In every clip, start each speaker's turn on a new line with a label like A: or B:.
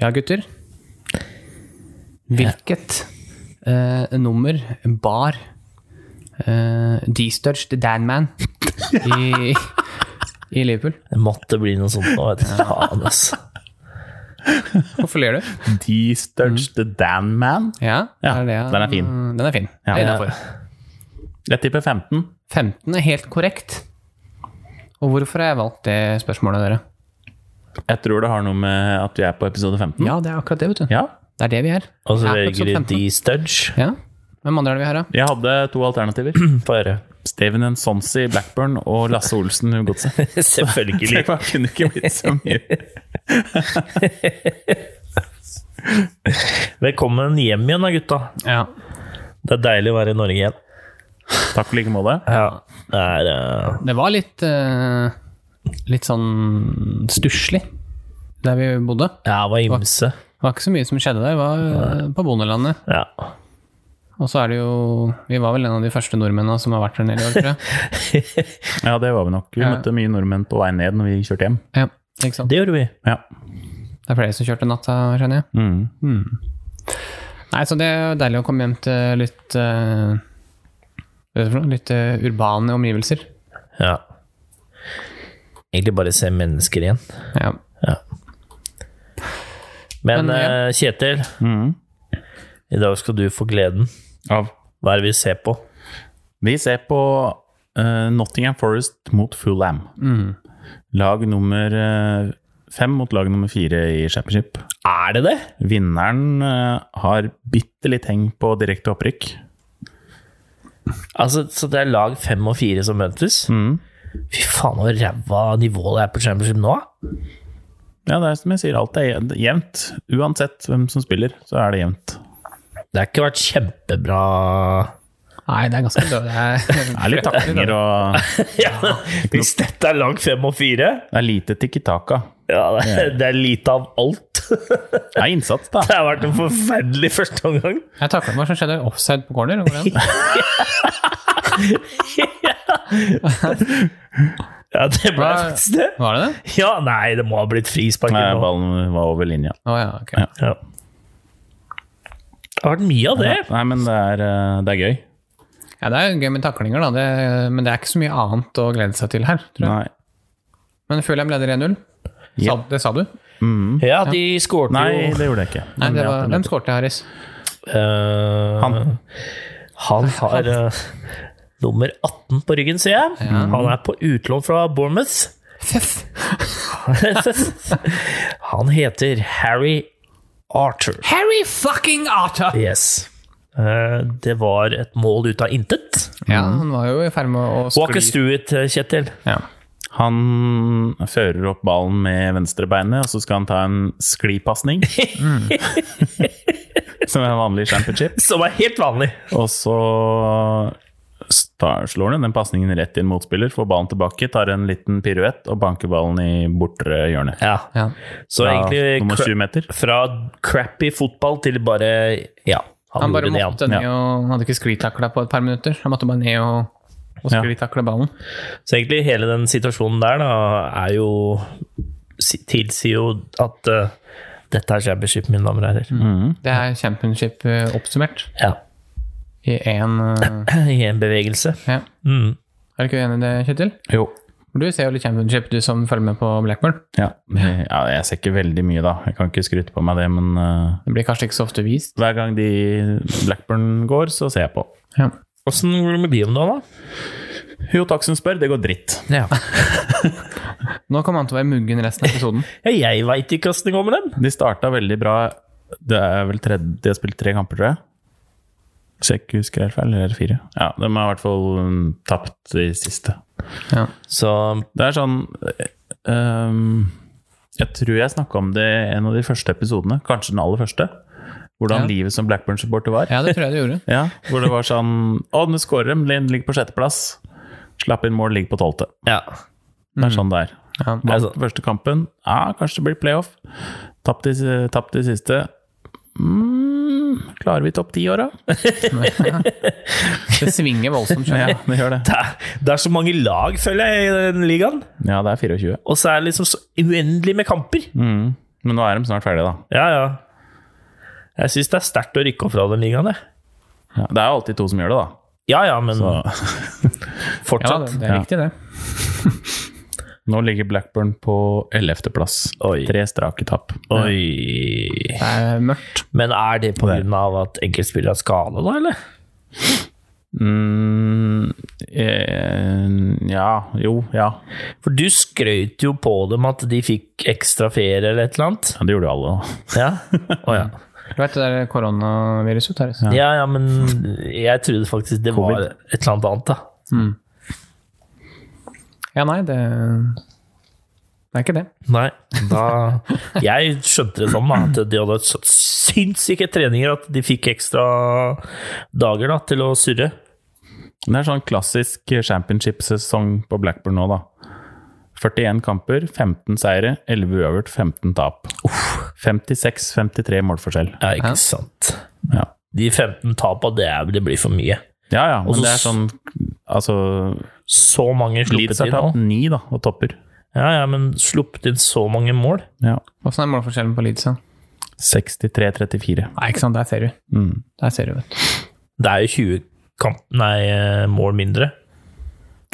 A: Ja, gutter. Hvilket eh, nummer bar uh, D-Studged Danman i, i Liverpool?
B: Det måtte bli noe sånt nå, vet du. Faen, ass.
A: Hvorfor ler du?
C: De største
B: Mm.
C: Dan Man.
A: Ja,
C: Ja,
A: det jeg-
C: den er fin.
A: Mm, Den er fin.
C: Ja.
A: Det er innenfor.
C: Jeg tipper 15.
A: 15 er helt korrekt. Og hvorfor har jeg valgt det spørsmålet, dere?
C: Jeg tror det har noe med at vi er på episode 15.
A: Ja, det er akkurat det, vet du.
C: Mm. Ja.
A: Det er det vi er.
B: Og så
A: Vi er på
B: velger
A: episode
B: de
A: 15.
B: D-Studge.
A: Ja. Hvem andre er det vi har, da?
C: Jeg hadde to alternativer.
B: Få høre.
C: Steven Nsonsi Blackburn og Lasse Olsen Godset. Det
B: Selvfølgelig.
C: var- kunne ikke blitt så mye.
B: Velkommen hjem igjen da, gutta.
A: Ja.
B: Det er deilig å være i Norge igjen.
C: Takk i like måte.
B: Ja. Det er eh,
A: Det var litt eh, Litt sånn stusslig der vi bodde.
B: Ja, det var ymse.
A: Det var ikke så mye som skjedde der. Det var eh, på bondelandet.
B: Ja.
A: Og så er det jo Vi var vel en av de første nordmennene som har vært der nede i år, tror jeg.
C: Ja, det var vi nok. Vi
A: Ja.
C: møtte mye nordmenn på vei ned når vi kjørte hjem.
A: Ja, ikke sant?
B: Det gjorde vi.
C: Ja.
A: Det er flere som kjørte natta, skjønner jeg.
C: Mm.
A: Nei, så det er jo deilig å komme hjem til litt eh, Hva er det for noe? Litt eh, urbane omgivelser.
B: Ja. Egentlig bare se mennesker igjen.
A: Ja. Men,
B: Men,
A: ja.
B: eh, Kjetil,
C: Mm.
B: i dag skal du få gleden.
C: Av.
B: Hva er det vi ser på?
C: Vi ser på eh, Nottingham Forest mot Fulham. Lag nummer eh, fem mot lag nummer fire i Championship.
B: Er det det?
C: Vinneren eh, har bitte litt heng på direkte opprykk.
B: Altså, Så det er lag fem og fire som møtes? Fy faen, så ræva nivå det er på Championship nå? da.
C: Ja, det er som jeg sier, alt er jevnt. Uansett hvem som spiller, så er det jevnt.
B: Det har ikke vært kjempebra
A: Nei, det er ganske dødt.
C: Det er litt taklinger og
B: ja, Hvis dette er lag fem og fire
C: Det er lite tikki-taka.
B: ja, det, det er lite av alt.
C: Det er innsats, da.
B: Det har vært en forferdelig første omgang.
A: Jeg takla hva som skjedde offside på corner. Hvordan?
B: Ja, det ble
A: Hva-
B: faktisk det.
A: Var det det?
B: Ja, nei, det må ha blitt frispark.
C: Nei,
B: eller noe.
C: ballen var over linja.
A: Å ja, ok.
C: Ja.
B: Ja. Det har vært mye av det.
C: Nei, men det er, eh, det er gøy.
A: Ja, det er jo gøy med taklinger, da. Det, men det er ikke så mye annet å glede seg til her. Tror jeg.
C: Nei,
A: Men Fulham leder 1-0.
C: Ja.
A: Sa- Det sa du?
B: Ja, de skårte
C: Nei
B: jo
C: det gjorde jeg ikke.
A: Nei,
C: Men
A: det
C: ja,
A: var,
C: det-
A: hvem skårte, Harris?
B: Eh,
C: Han.
B: Han har eh, nummer 18 på ryggen, sier jeg. Han er på utlån fra Bournemouth.
A: Føff!
B: han heter Harry Arthur.
A: Harry fucking Arthur!
B: Yes. Eh, det var et mål ut av intet.
A: Ja, han var jo i ferd med å
B: Walker
A: skli.
B: Stewart, eh, Kjetil.
A: Ja.
C: Han fører opp ballen med venstrebeinet, og så skal han ta en sklipasning.
B: Mm.
C: Som er en vanlig championship.
B: Som er helt vanlig.
C: Og så sta- slår han den pasningen rett inn motspiller, får ballen tilbake, tar en liten piruett og banker ballen i bortre hjørne.
B: Ja.
A: Ja.
B: Så
C: Fra
B: egentlig
C: nummer
B: kra
C: 20 meter.
B: fra crappy fotball til bare Ja. Han,
A: Han bare
B: gjorde det,
A: måtte ned og hadde ikke sklitakla på et par minutter. Han måtte bare ned og, og
C: Ja.
A: sklitakle ballen.
B: Så egentlig hele den situasjonen der da, er jo si- Tilsier jo at eh, dette er championship, mine damer og herrer.
A: Det er championship eh, oppsummert
B: Ja.
A: i én eh,
B: I en bevegelse.
A: ja.
B: Mm.
A: Er du ikke enig i det, Kjetil?
C: Jo.
A: Du ser jo litt championship, du som følger med på Blackburn.
C: Ja. ja, jeg ser ikke veldig mye, da. Jeg kan ikke skryte på meg det, men eh,
A: Det blir kanskje ikke så ofte vist.
C: hver gang de Blackburn går, så ser jeg på.
A: Ja.
B: Åssen går det med de om dagen, da?
C: Jo, takk som spør. Det går dritt.
B: Ja.
A: Nå kommer han til å være muggen resten av episoden.
B: jeg veit ikke åssen det går med dem.
C: De starta veldig bra. Det er vel tredje De har spilt tre kamper, tror jeg. Hvis jeg ikke husker helt feil, eller er det fire? Ja, de har i hvert fall mm, tapt de siste.
A: Ja.
B: Så
C: Det er sånn eh, ehm, Jeg tror jeg snakka om det i en av de første episodene, kanskje den aller første. Hvordan
A: Ja.
C: livet som Blackburn-supporter var. Ja.
A: ja, det tror jeg du gjorde.
C: Hvor det var sånn Å, nå scorer de, Lind ligger på sjetteplass. Slapp inn mål, ligger på tolvte.
B: ja.
C: Det er sånn det er.
A: Ja.
C: Vant
B: Altså-
C: første kampen. Ja, kanskje det blir playoff. Tapt de, tapt de siste. Mm, klarer vi topp ti-åra?
A: Det svinger voldsomt. skjønner
C: Ja,
A: jeg.
C: det gjør det.
B: Det er, det er så mange lag, føler jeg, i den ligaen.
C: Ja, det er 24.
B: Og så er det liksom så uendelig med kamper.
C: Mm. Men nå er de snart ferdige, da.
B: Ja, ja. Jeg syns det er sterkt å rykke opp fra den ligaen, jeg.
C: Ja, det er jo alltid to som gjør det, da.
B: Ja ja, men
A: Ja,
B: fortsatt.
A: det, det er
C: Ja.
A: riktig, det.
C: Nå ligger Blackburn på 11.-plass.
B: Oi.
C: Tre strake tap.
B: Oi.
A: Det er mørkt.
B: Men er det på grunn av at enkeltspillere er skada, da, eller?
C: Mm, eh, ja, jo, ja.
B: For du skrøt jo på dem at de fikk ekstra ferie eller et eller annet.
C: ja. Det gjorde jo alle, da.
B: Ja, Å, ja.
A: Du vet det der koronaviruset, Terje?
B: ja, ja men jeg trodde faktisk det var
C: Covid.
B: et eller annet annet, da.
A: Ja, nei, det Det er ikke det.
B: Nei, da Jeg skjønte det sånn, da. At de hadde så sinnssyke treninger at de fikk ekstra dager da, til å surre.
C: Det er sånn klassisk championship-sesong på Blackburn nå, da. 41 kamper, 15 seire, 11 uavgjort, 15 tap. 56-53 målforskjell.
B: Ja, ikke sant.
C: Ja.
B: De 15 tapa, det, er- det blir for mye.
C: ja ja, men
B: så-
C: det er sånn Altså,
B: Så mange
C: Leeds
B: sluppet
C: har
B: inn
C: tapt
B: nå.
C: ni, da, og topper.
B: Ja, ja, men sluppet inn så mange mål.
C: Ja.
A: Åssen er målforskjellen på Leeds? da?
C: 63-34.
A: Nei, ikke sant, der ser du.
C: Mm.
A: Der ser du, vet du.
B: Det er jo 20 kamp, nei, eh, mål mindre.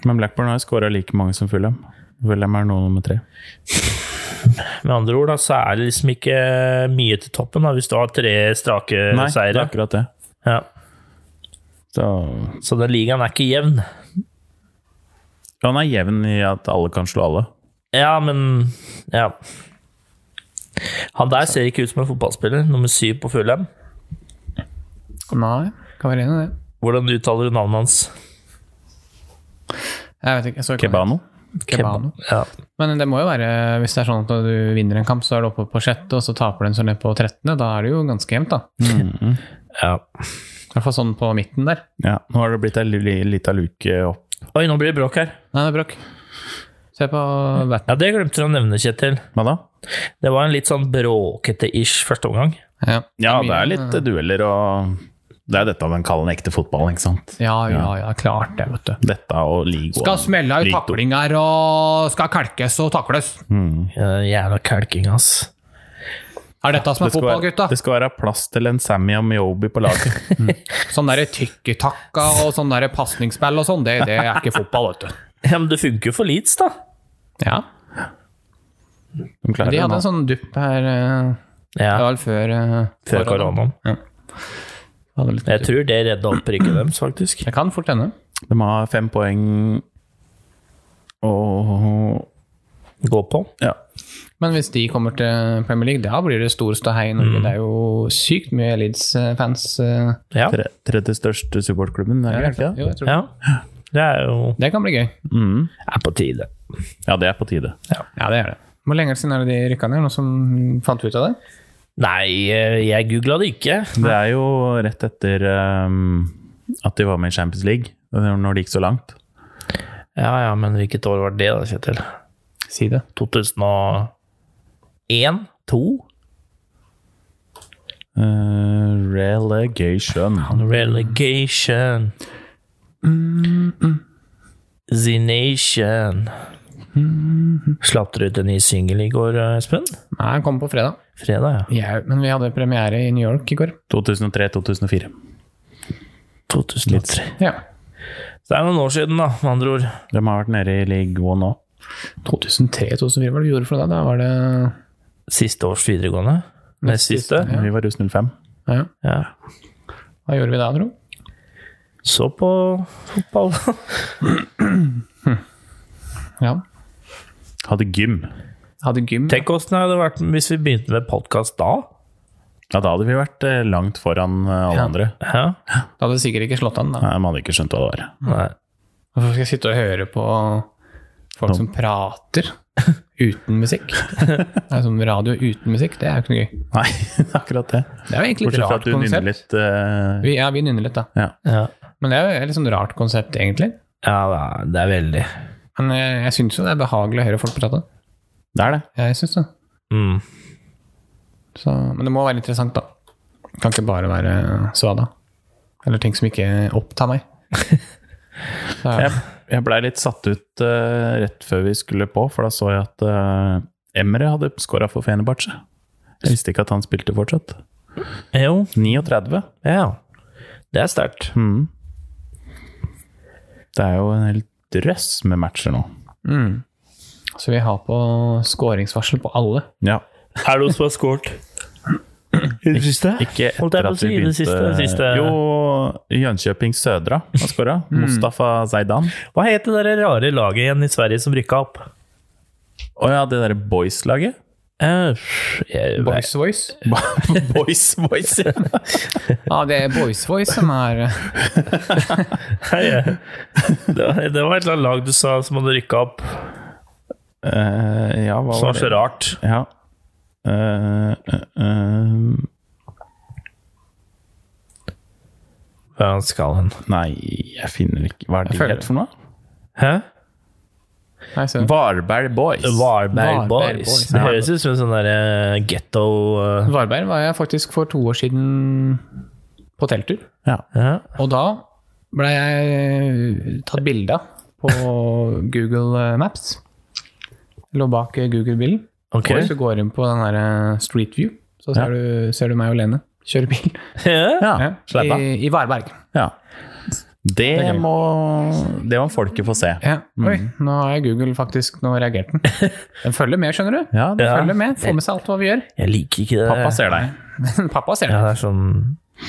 C: Men Blackburn har skåra like mange som Fulham. Fulham er nå nummer tre.
B: Med andre ord, da, så er det liksom ikke mye til toppen da, hvis du har tre strake
C: Nei, det er
B: seire.
C: akkurat det.
B: Ja.
C: Så
B: Så den ligaen er ikke jevn.
C: Ja, Han er jevn i at alle kan slå alle.
B: Ja, men Ja. Han der ser ikke ut som en fotballspiller. Nummer syv på Fulham.
A: Nei, kan være enig i det.
B: Hvordan uttaler du navnet hans?
A: Jeg vet ikke. Jeg så ikke
C: Kebano.
A: Kebano.
B: Ja.
A: Men det må jo være, hvis det er sånn at du vinner en kamp, så er du oppe på sjette, og så taper du en sånn ned på trettende. Da er det jo ganske jevnt, da.
B: ja.
A: I hvert fall sånn på midten der.
C: Ja, nå har det blitt ei li- lita luke opp.
B: Oi, nå blir det bråk her.
A: Nei, det er bråk. Se på Batman.
B: Ja, Det glemte du å nevne, Kjetil.
C: Hva da?
B: Det var en litt sånn bråkete-ish første omgang.
A: Ja.
C: Ja, det
A: mye-
C: er litt eh, dueller og Det er dette man kaller en ekte fotball, ikke sant?
A: Ja, ja, ja, klart det, vet du.
C: Dette og ligaen.
A: Skal smelle ut
C: Ligaen.
A: taklinger og skal kalkes og takles.
B: Ja, Jævla kalking, ass.
A: Er dette som er
C: Det skal,
A: fotball,
C: være,
A: gutta?
C: det skal være plass til en Sammy og Miobi på laget.
A: Sånn derre tykketakka og sånn derre pasningsspill og sånn, det, det er ikke fotball, vet du.
B: Ja, Men det funker jo for Leeds, da.
A: Ja.
C: De klarer
A: De
C: det
A: hadde
C: nå.
A: en sånn dupp her, eh, det
B: Ja,
A: var vel før eh,
B: Før koronaen.
A: Hadde litt
B: Jeg tror det redda opp rykket deres, faktisk.
A: Det kan fort hende.
C: De har fem poeng og
B: Gå på.
C: Ja.
A: Men hvis de kommer til Premier League, da blir det stor ståhei i Norge. Det er jo sykt mye Leeds-fans. eh,
B: Ja.
C: Tre, tredje største supportklubben, er det ikke det?
A: Jo, jeg tror det.
B: ja. Det er jo
A: Det kan bli gøy.
B: Er på tide.
C: Ja, det er på tide.
A: Ja, det er det. Hvor lenge siden er det de rykka ned? Noen som fant ut av det?
B: Nei, eh, jeg googla det ikke.
C: Det er jo rett etter eh, at de var med i Champions League, når det gikk så langt.
B: Ja ja, men hvilket år var det, da, Kjetil?
A: Si det.
B: 2001? 2?
C: Eh, relegation.
B: Relegation. The Nation. Slapp dere ut en ny singel i går, eh, Espen?
A: Nei, han kom på fredag.
B: Fredag, ja.
A: Ja, men vi hadde premiere i New York i går.
C: 2003-2004.
B: 2003.
A: Ja.
B: Så det er noen år siden, da, med andre ord.
C: De har vært nede i league one nå.
A: 2003-2004, hva var det du gjorde for deg? Da var det
B: Siste års videregående. Nest siste.
C: Vi var russ 05.
A: ja.
B: Ja.
A: Hva gjorde vi da, tro?
B: Så på fotball.
A: Ja.
C: Hadde gym.
A: Hadde gym.
B: Tenk åssen det hadde vært hvis vi begynte med podkast da.
C: Ja, da hadde vi vært eh, langt foran eh, alle
A: Ja.
C: andre.
B: Ja.
A: Da hadde sikkert ikke slått an, da.
C: Nei, Man hadde ikke skjønt hva det var.
B: Nei.
A: Hvorfor skal jeg sitte og høre på folk som prater uten musikk? Det er som radio uten musikk, det er jo ikke noe gøy.
C: Nei, akkurat det.
A: Det er jo egentlig et
C: Bortsett fra
A: rart
C: at du nynner
A: konsept.
C: litt. eh,
A: Vi, ja, vi nynner litt, da.
C: ja.
B: Ja.
A: Men det er jo et litt sånn rart konsept, egentlig.
B: ja, det er- det er veldig
A: Men jeg, jeg syns jo det er behagelig å høre folk prate.
C: Det er det.
A: Jeg synes det.
B: mm.
A: Så, men det må være interessant, da. Det kan ikke bare være svada. Eller ting som ikke opptar meg. Så,
C: Jeg, jeg blei litt satt ut eh, rett før vi skulle på, for da så jeg at eh, Emre hadde skåra for Fenerbahçe. Jeg visste ikke at han spilte fortsatt.
B: Jo,
C: 39.
B: ja. Det er sterkt.
C: Mhm. Det er jo en hel drøss med matcher nå.
A: Så vi har på skåringsvarsel på alle.
C: Ja.
B: Er det noen som har scoret i det siste?
C: Ikke
B: Holdt jeg
C: etter
B: på å
C: at vi
B: si, det
C: begynte
B: siste- siste- Mm.
C: Jo, Jönköping Södra har skåra. Mustafa Zaidan.
B: Hva het det der rare laget igjen i Sverige som rykka opp?
C: Å ja, det derre Boys-laget.
B: Eh, jeg,
A: Boys Voice.
C: boys, boys, ja.
A: Ja, det er Boys Voice som er eh,
B: Nei, jeg- det, var, det var et eller annet lag du sa som hadde rykka opp,
C: Eh, ja, hva
B: som
C: var
B: var så
C: det?
B: rart.
C: Ja. Eh, eh, eh,
B: Hvor er han skal hen?
C: nei, jeg finner ikke Hva er
A: Jeg
C: det de
A: føler-
C: het for noe?
B: Hæ?
A: Nei, så
C: Varberg Boys.
B: Varberg
A: Varberg
B: Boys.
A: Boys.
B: Det høres ut som en sånn derre getto eh,
A: Varberg var jeg faktisk for to år siden på telttur.
C: ja.
B: ja.
A: Og da ble jeg tatt bilde av på Google eh, Maps. Lå bak eh, Google-bilen.
B: Ok.
A: Og hvis du går inn på den der eh, Street View, så ser, du, ser du meg og Lene kjøre bil.
B: Ja.
C: ja.
A: Ja,
C: Sleppa.
A: I, I Varberg.
C: Ja. Det,
A: er gøy.
C: må, det må folket få se.
A: Ja. Oi, nå har jeg Google faktisk Nå reagerte den. Den følger med, skjønner du.
C: Ja, det,
B: Ja.
A: Følger med, Får med seg alt hva vi gjør.
B: Jeg liker ikke det.
C: Pappa ser deg.
A: Men Pappa ser
B: Ja,
A: det.
B: det er sånn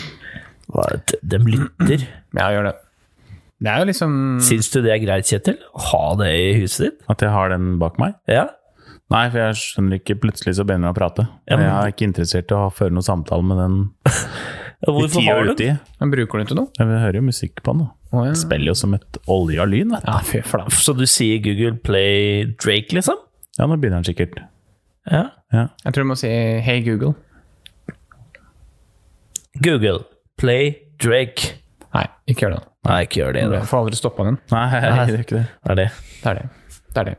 B: hva, er det- De lytter.
A: Ja, gjør det. Det er jo liksom
B: Syns du det er greit, Kjetil? Å ha det i huset ditt?
C: At jeg har den bak meg?
B: Ja.
C: Nei, for jeg skjønner ikke Plutselig så begynner jeg å prate.
B: Ja, men-
C: Jeg er ikke interessert i å ha- føre noen samtale med den
B: Ja,
C: i
B: Hvorfor
C: tida
B: har du
C: uti.
B: den?
A: Men bruker du ikke noe?
C: Jeg hører jo musikk på den. da.
A: Å, ja.
C: Spiller jo som et olje av lyn, vet du.
A: ja, fy flate.
B: Så du sier Google Play Drake, liksom?
C: Ja, nå begynner han sikkert.
B: Ja.
C: Ja.
A: Jeg tror du må si 'Hey Google'.
B: Google Play Drake.
A: Nei, ikke gjør det.
B: Nei, ikke gjør det, da.
A: Jeg får aldri stoppa den.
C: Nei, jeg gjør ikke det.
A: Mm.
B: Det er det.
A: Det er det. Det er det.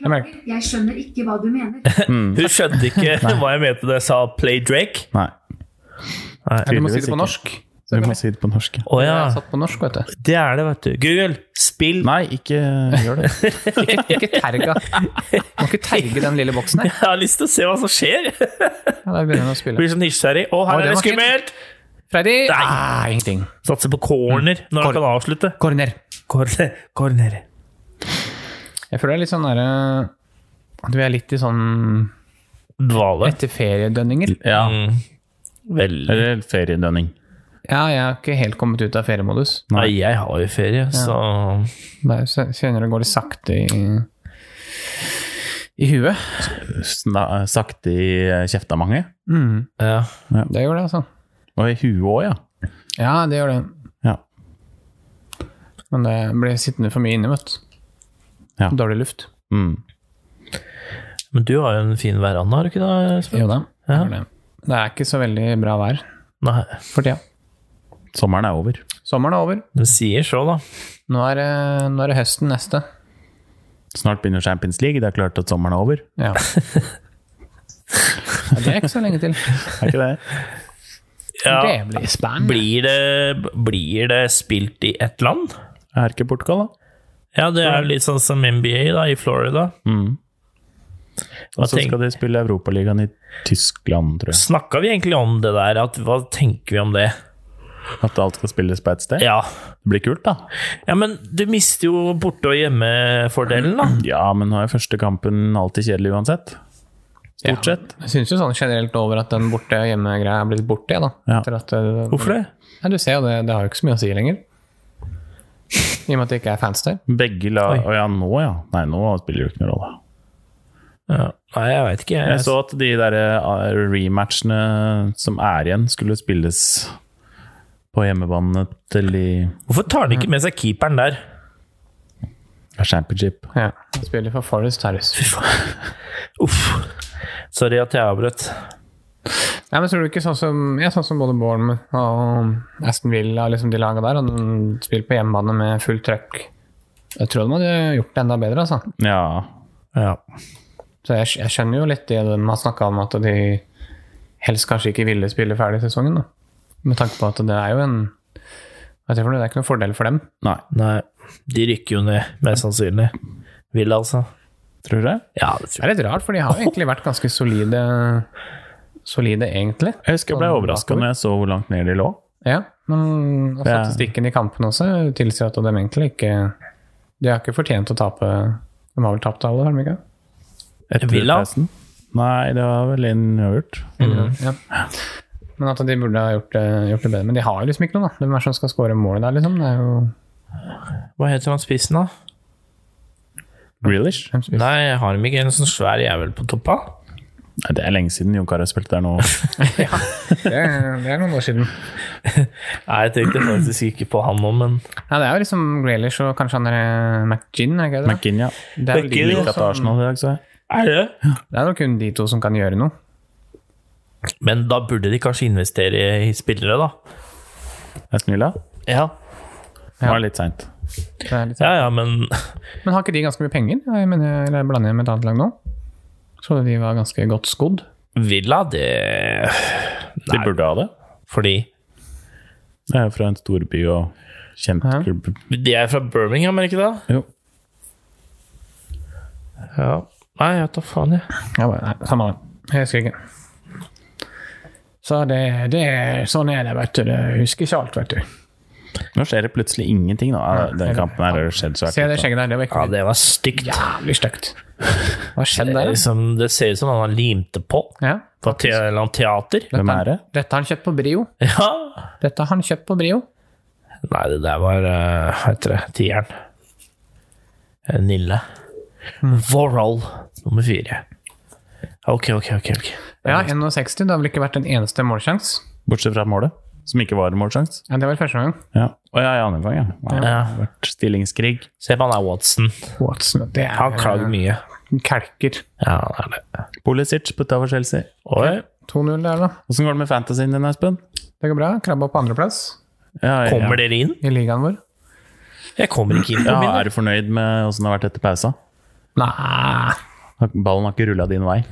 D: Beklager, jeg skjønner ikke hva du mener.
C: Mm.
B: Hun skjønte ikke hva jeg mente da jeg sa Play Drake.
C: Nei.
A: Ja, du må si
C: Tydeligvis
A: det på
C: ikke.
A: norsk.
C: Vi må si det på norsk.
B: Å
A: Jeg
B: ja.
A: er satt på norsk, vet du.
B: Det er det, vet du. Google, spill
C: Nei, ikke gjør det.
A: Ikke terga. Må ikke terge den lille boksen her.
B: Jeg har lyst til å se hva som skjer. Jeg
A: Ja, der begynner den å spille.
B: blir så nysgjerrig. Å,
A: Å,
B: her
A: det
B: er det
A: var fint.
B: skummelt!
A: Freddy!
B: Nei.
A: Ah, ingenting.
B: Satser på corner når han
A: Mm. Corner.
B: kan avslutte.
A: Corner.
B: Corner. corner.
A: Jeg føler det er litt sånn derre At vi er litt i sånn
B: Dvale.
A: etter feriedønninger.
C: Ja.
B: Mm. Veldig.
C: Eller feriedønning.
A: Ja, jeg har ikke helt kommet ut av feriemodus.
B: Nei, jeg har jo ferie, så
A: Bare kj- Kjenner det går litt sakte i i huet.
C: Sna- Sakte i kjeftamange.
A: Mm,
B: ja.
A: det gjør det, altså.
C: Og i huet òg, ja.
A: Ja, det gjør det.
C: ja.
A: Men det blir sittende for mye inne, vet du.
C: Ja.
A: Dårlig luft.
C: Mm.
B: Men du har jo en fin veranda, har du ikke det? Espen?
A: Jo da.
B: Ja.
A: det gjør det. Det er ikke så veldig bra vær
B: Nei.
A: for tida.
C: Sommeren er over.
A: Sommeren er over.
B: Du sier så, da.
A: Nå er, det- nå er det høsten neste.
C: Snart begynner Champions League. Det er klart at sommeren er over.
A: Ja. ja det er ikke så lenge til.
C: Er ikke det?
B: Ja.
A: Det blir spennende.
B: Blir det, blir det spilt i ett land?
C: Jeg er ikke Portugal, da.
B: Ja, det er jo litt sånn som NBA da, i Florida.
C: Mm.
B: Hva
C: Og så
B: tenk-
C: skal de spille Europaligaen i Tyskland, tror jeg.
B: Snakka vi egentlig om det der? At, hva tenker vi om det?
C: At alt skal spilles på ett sted.
B: Ja.
C: Det blir kult, da.
B: ja, men du mister jo borte- og hjemmefordelen, da.
C: Ja, men nå er første kampen alltid kjedelig uansett. Stort
A: Ja.
C: sett.
A: Jeg syns jo sånn generelt over at den borte og hjemme-greia er blitt borte. Da.
C: Ja.
A: Etter at, eh,
B: Hvorfor det?
A: Nei, du ser jo det, det har jo ikke så mye å si lenger. I og med at det ikke er fans der.
C: Begge la
B: Oi.
C: Å ja, nå ja. Nei, nå spiller det jo ikke noen rolle.
B: Ja. Nei, jeg veit ikke. Jeg,
C: Jeg så at de der eh, rematchene som er igjen, skulle spilles på hjemmebane til i
B: Hvorfor tar han ikke med seg keeperen der?
C: championship.
A: Ja. De Spiller for Forest Harris.
B: Uff. Sorry at jeg avbrøt.
A: Nei, men tror du ikke sånn som, ja, sånn som både Bournemouth og Aston Villa og liksom de lagene der, og de spiller på hjemmebane med fullt trøkk? Jeg tror de hadde gjort det enda bedre, altså.
C: Ja.
B: Ja.
A: Så jeg, jeg skjønner jo litt det de har snakka om, at de helst kanskje ikke ville spille ferdig sesongen. da. Med tanke på at det er jo en Hva heter det for noe? Det er ikke noen fordel for dem.
C: Nei.
B: Nei, de rykker jo ned, mest sannsynlig. Vil altså.
C: Tror du det?
B: Ja, det
A: Det er litt rart, for de har jo egentlig vært ganske solide solide, egentlig.
C: Jeg husker jeg ble overraska når jeg så hvor langt ned de lå.
A: Ja, men
C: Det er-
A: statistikken i kampen også tilsier at de egentlig ikke De har ikke fortjent å tape. De har vel tapt alle, har de ikke?
C: Etter
B: Villa?
C: pausen. Nei, det var vel en uavgjort.
A: Mm. Ja. Men at de burde ha gjort det, gjort det bedre. Men de har jo liksom ikke noe, da. Hvem er det som skal skåre målet der, liksom? Det er jo
B: Hva heter han spissen, da?
C: Grealish?
A: hvem som
B: Nei, har de ikke en sånn svær jævel på toppa?
C: Nei, Det er lenge siden Jon Carew spilte der nå.
A: det, er, det er noen år siden.
B: Nei, jeg tenkte faktisk ikke på han nå, men
A: Ja, det er jo liksom Grealish og kanskje han der eh, McGinn, er ikke det?
C: McGinn, ja.
A: det er vel de
B: McGinn,
A: to
C: Ikke til
A: som,
C: Arsenal i dag, så jeg.
B: Er det?
A: Det er jo kun de to som kan gjøre noe.
B: Men da burde de kanskje investere i spillere, da.
C: Nesten Villa.
B: Ja.
C: Det var litt seint.
A: Det er litt...
B: Ja, ja, men
A: Men har ikke de ganske mye penger? Jeg mener, eller blander jeg med et annet lag nå? Så de var ganske godt skodd.
B: Villa, det
C: De
B: Nei,
C: burde ha det.
B: fordi
C: Det er jo fra en storby og kjent
A: Ja.
C: klubb.
B: De er fra Birmingham, er det ikke det?
C: Jo.
B: Ja. Nei, jeg vet da faen, jeg.
A: Ja, bare, nei, samme det. Jeg husker ikke. Så det, det Sånn er det, vet du. Jeg husker ikke alt, vet du.
C: Nå skjer det plutselig ingenting, da. Den
A: jeg-
C: kampen her har det skjedd svært
A: Se det
C: lite.
A: skjegget der. Det var
B: Ja,
A: ikke
B: det var stygt.
A: jævlig stygt. Hva skjedde
B: Det, er
A: der? da?
B: liksom, det ser ut som han har limt det på.
A: Ja.
B: På te eller annet teater.
C: Hvem er det?
A: Dette har han kjøpt på Brio.
B: Ja.
A: Dette har han kjøpt på Brio.
B: Nei, det der var eh, Hva heter det? Tieren. Eh, Nille. Vorol nummer fire. Ok, ok, ok. ok.
A: Ja, 61. Det har vel ikke vært en eneste målsjanse.
C: Bortsett fra målet, som ikke var en målsjanse.
A: Ja, det var første gangen.
C: Ja. Å ja, i andre gang, ja. Nei, det har vært stillingskrig.
B: Se på han der Watson.
A: Watson, det er
B: Han klager mye.
A: Kalker.
B: Ja, han er det.
C: Pulisic putta for Chelsea.
B: Oi.
A: 2-0 der, da.
C: Åssen går det med fantasyen din, Espen?
A: Det går bra. Krabba på andreplass
C: Ja, ja.
B: Kommer dere inn?
A: i ligaen vår.
B: Jeg kommer ikke inn på
C: Ja,
B: min.
C: er du fornøyd med åssen det har vært etter pausa?
A: Nei,
C: Ballen har ikke rulla din vei.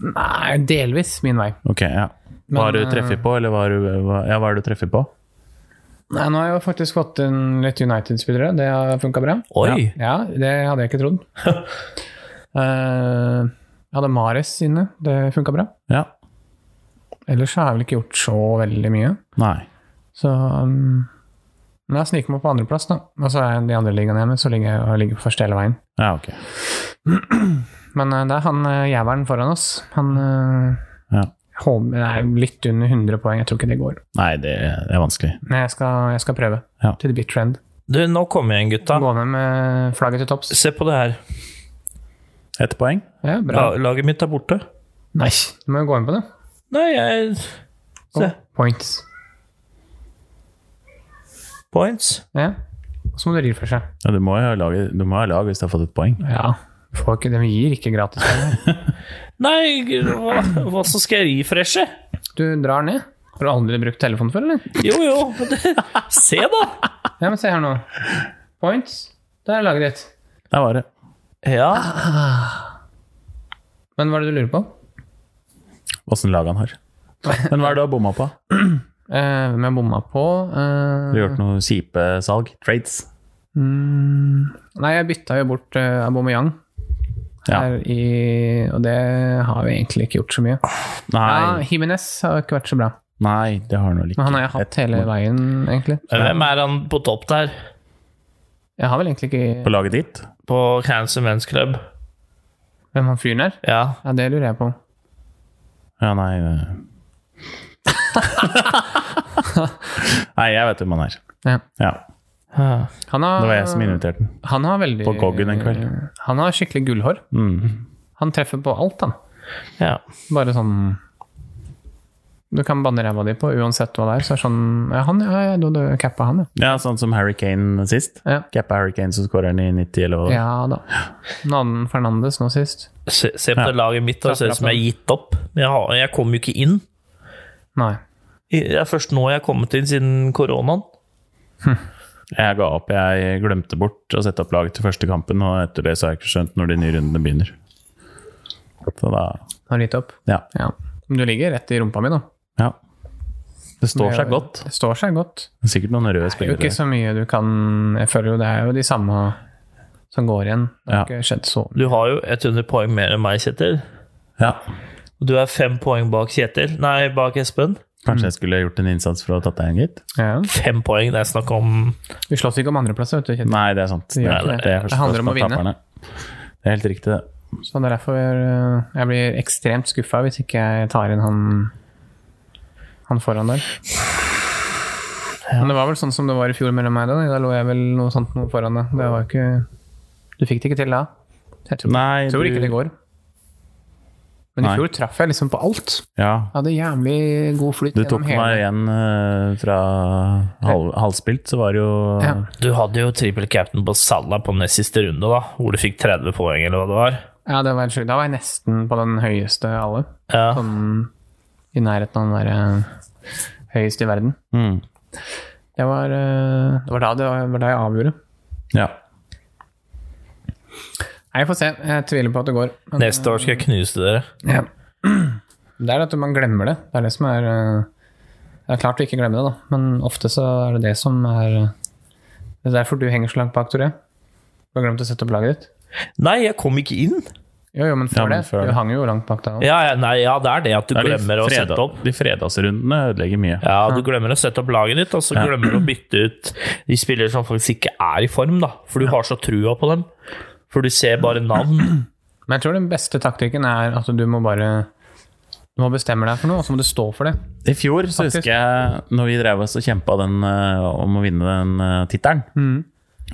A: nei delvis min vei.
C: Ok, ja. Hva har du
A: Men, eh,
C: treffet på, eller hva har du, hva- ja, hva har du treffet på?
A: Nei, nå har jeg jo faktisk fått inn litt United-spillere. Det har funka bra.
B: Oi.
A: Ja, det hadde jeg ikke trodd. Eh, jeg hadde Mares inne. Det funka bra.
C: Ja.
A: Ellers så har jeg vel ikke gjort så veldig mye.
C: Nei.
A: Så um, Men jeg sniker meg på andreplass, da. Og så er de andre ligaene jeg er med, så ligger jeg og ligger på første hele veien.
C: Ja, ok.
A: Men eh, det er han eh, jævelen foran oss. Han uh,
C: Ja.
A: er litt under 100 poeng. Jeg tror ikke det går.
C: Nei, det, det er vanskelig.
A: Men jeg skal, jeg skal prøve.
C: Ja.
A: Til the bitter end.
B: Du, nå kommer jeg inn, gutta.
A: Gå ned med flagget til topps.
B: Se på det her.
C: Ett poeng.
A: Ja, bra.
B: La, laget mitt er borte.
A: Nei, du må jo gå inn på det.
B: Nei, jeg Se.
A: Points.
B: Points.
A: Ja. Og så må du refreshe.
C: Ja, du må jo ha lag, du må ha lag hvis du har fått et poeng.
A: Ja. Du Får ikke, de gir ikke gratis. penger.
B: Nei, hva, hva så skal jeg refreshe?
A: Du drar ned. Har du aldri brukt telefonen før, eller?
B: Jo, jo. men det- Se, da.
A: Ja, men se her nå. Points. Der er laget ditt.
C: Der var det.
B: Ja.
A: Men hva er det du lurer på?
C: Åssen lag han har. Men hva er det du har bomma på?
A: Eh, Hvem jeg bomma på?
C: Du
A: Eh,
C: har gjort noe kjipe salg? Trades?
A: hmm. nei, jeg bytta jo bort uh, Aubameyang.
C: Ja.
A: Her i, og det har vi egentlig ikke gjort så mye. Ja,
C: Nei,
A: Jimenez har jo ikke vært så bra.
C: nei det har han vel ikke.
A: Men han har jeg hatt hele veien, egentlig.
B: Hvem er han på topp der?
A: Jeg har vel egentlig
C: På
A: ikke
C: laget ditt?
B: På Cancer Men's Club?
A: Hvem han fyren er?
B: Ja.
A: Ja, det lurer jeg på.
C: Ja, nei eh. det- Nei, jeg vet hvem han er.
A: Ja.
C: Ja,
B: Ja.
A: Han har,
C: Det var jeg som inviterte den.
A: Han har veldig
C: På Goggen en kveld. Mm.
A: Han har skikkelig gullhår. Han treffer på alt, han.
B: ja.
A: Bare sånn Du kan banne ræva di på uansett hva det er. Så er det sånn Ja, han, ja, ja, du, du cappa han, ja.
C: Ja, sånn som Harry Kane sist.
A: Ja.
C: Cappa Harry Kane, så skårer han i 90 eller hva.
A: Ja da. Nannen Fernandes nå sist.
B: Se, se på det laget mitt. da. Det ser ut som jeg har gitt opp. Men Jeg, har, jeg kom jo ikke inn.
A: Nei.
B: Det er først nå jeg har kommet inn siden koronaen.
C: Jeg ga opp. Jeg glemte bort å sette opp laget til første kampen, og etter det så har jeg ikke skjønt når de nye rundene begynner. Så da
A: Har gitt opp.
C: Ja.
A: Ja. Men du ligger rett i rumpa mi, da.
C: ja. Det står seg godt.
A: Det står seg godt.
C: Det er Sikkert noen røde
A: Det er jo ikke
C: spillere.
A: så mye du kan Jeg føler jo det er jo de samme som går igjen. Det har
C: Ja.
A: ikke skjedd så
B: Du har jo 100 poeng mer enn meg, Kjetil.
C: Ja.
B: Du er fem poeng bak Kjetil. Nei, bak Espen.
C: Kanskje jeg skulle gjort en innsats for å ha tatt deg igjen, gitt?
A: Ja.
B: Fem poeng, det er snakk om
A: Vi slåss ikke om andreplass, vet du. Kjetil.
C: Nei, det er sant.
A: Det gjør
C: Nei,
A: ikke det.
C: er
A: Det handler om å vinne.
C: taperne. Det er helt riktig, det.
A: Så det er derfor eh, jeg blir ekstremt skuffa hvis ikke jeg tar inn han, han foran der. Men det var vel sånn som det var i fjor mellom meg og deg. Da lå jeg vel noe sånt noe foran deg. Det var jo ikke Du fikk det ikke til da. Jeg tror,
C: Nei,
A: tror
C: du-
A: ikke det går. Men i
C: Nei.
A: fjor traff jeg liksom på alt.
C: Ja.
A: Jeg hadde jævlig god flyt
C: Du tok
A: gjennom hele
C: meg igjen eh, fra halv, halvspilt, så var det jo
A: ja.
B: Du hadde jo trippel cap'n på Salah på nest siste runde, da, hvor du fikk 30 poeng, eller hva det var.
A: ja, det var helt sjukt. Da var jeg nesten på den høyeste av alle.
B: Ja.
A: Sånn i nærheten av den der eh, høyeste i verden.
C: Mm.
A: Det var, eh, det var, da, det var da jeg avgjorde.
C: ja.
A: Nei, Jeg får se. Jeg tviler på at det går. Men,
B: Neste år skal jeg knuse dere.
A: ja. Det er at man glemmer det. Det er det som er eh, Det er klart å ikke glemme det, da. Men ofte så er det det som er eh, Det er derfor du henger så langt bak, Tore. Du har glemt å sette opp laget ditt.
B: Nei, jeg kom ikke inn!
A: Jo, jo, men før
C: Ja, men
A: det.
C: før det.
A: Du hang jo langt bak da òg.
B: Ja, ja, nei, ja, det er det at du
C: Det er de
B: glemmer å
C: freda-
B: sette opp.
C: De fredagsrundene ødelegger mye.
B: Ja, du glemmer å sette opp laget ditt, og så glemmer du å bytte ut de spillere som faktisk ikke er i form, da. For du har så trua på dem. For du ser bare navn.
A: Men jeg tror den beste taktikken er at du må bare Du må bestemme deg for noe, og så må du stå for det.
C: I fjor så husker jeg, når vi drev oss og kjempa den, eh, om å vinne den eh, tittelen,
A: Mm.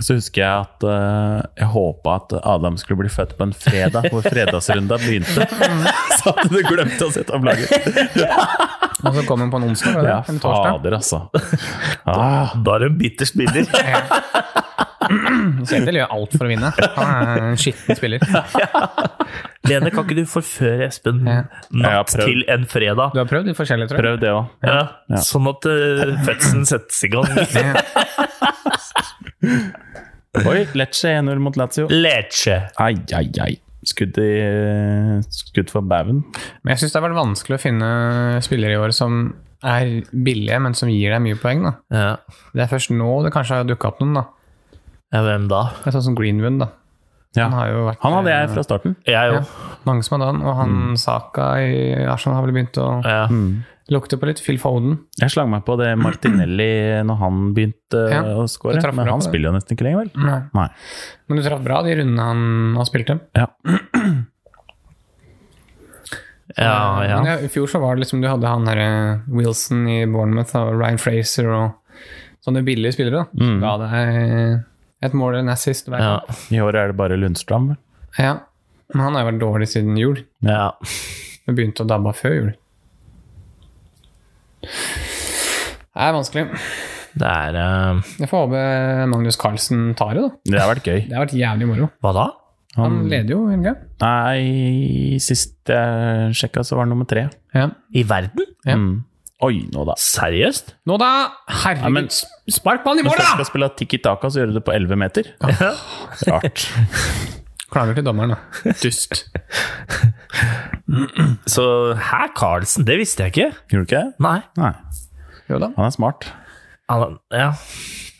C: så husker jeg at eh, jeg håpa at Adam skulle bli født på en fredag, hvor fredagsrunda begynte. så at du glemte å sette opp laget.
A: Og så kom hun på en onsdag. var det?
C: Ja,
A: en torsdag.
C: fader, altså. Ah,
B: Da er du en bitter spiller.
A: Kjetil gjør alt for å vinne. Han er en skitten spiller. Du
B: Lene, kan ikke du forføre Espen
A: Ja.
C: Jeg har
B: natt
C: prøvd.
B: til en fredag?
A: har prøvd litt forskjellig, tror jeg.
C: prøv det òg.
B: Ja. Sånn at uh, fødselen settes i gang.
C: Oi, Lecce 1-0 mot Lazio.
B: Lecce.
C: Ai, ai, ai. Skudd, i, skudd for baugen.
A: Men jeg syns det har vært vanskelig å finne spillere i år som er billige, men som gir deg mye poeng. da.
B: Ja.
A: Det er først nå det kanskje har dukka opp noen. da.
B: ja, hvem da?
A: Det er sånn som Greenwood. da.
C: Ja.
A: Han har jo vært...
C: Han hadde jeg Mm. fra starten.
B: Jeg
A: ja,
B: òg.
A: mange som hadde han, og han Saka i Arsenal har vel begynt å
B: Ja.
A: lukte på litt Phil Foden.
C: Jeg slang meg på det Martinelli når han begynte
A: Ja,
C: å
A: du
C: score.
A: traff
C: Men
A: bra på
C: han
A: det. Mm.
C: spiller jo nesten ikke lenger, vel?
A: Nei.
C: Nei.
A: Men du traff bra de rundene han, han spilte.
C: Ja.
B: Ja, ja.
A: Men ja, I fjor så var det liksom du hadde han her, eh, Wilson i Bournemouth og Ryan Fraser og sånne billige spillere. da.
C: Mm.
A: Ga deg et mål eller en assist hver
B: ja.
A: gang.
C: I år er det bare Lundstrand, vel?
A: Ja. Men han har jo vært dårlig siden jul.
B: ja.
A: Vi begynte å dabbe av før jul. Det er vanskelig.
B: Det er eh,
A: Jeg får håpe Magnus Carlsen tar det, da.
C: Det har vært gøy.
A: Det har vært jævlig moro.
B: Hva da?
A: Han leder jo, Helge.
C: Nei, sist jeg sjekka, så var han nummer tre.
A: Ja.
B: I verden?
A: Ja.
C: Mm. Oi, nå da.
B: Seriøst?
A: Nå da! Herregud,
C: Ja, men-
A: s- spark ballen i
C: Hvis
A: mål,
C: du skal
A: da!
C: spille tikki taka, så gjør du det på 11 meter. Rart.
A: Klager til dommeren, da. Dust.
B: Så hæ, Carlsen? Det visste jeg ikke.
C: Gjorde du ikke det?
B: Nei.
C: Nei.
A: Jo da.
C: Han er smart.
B: Han, ja.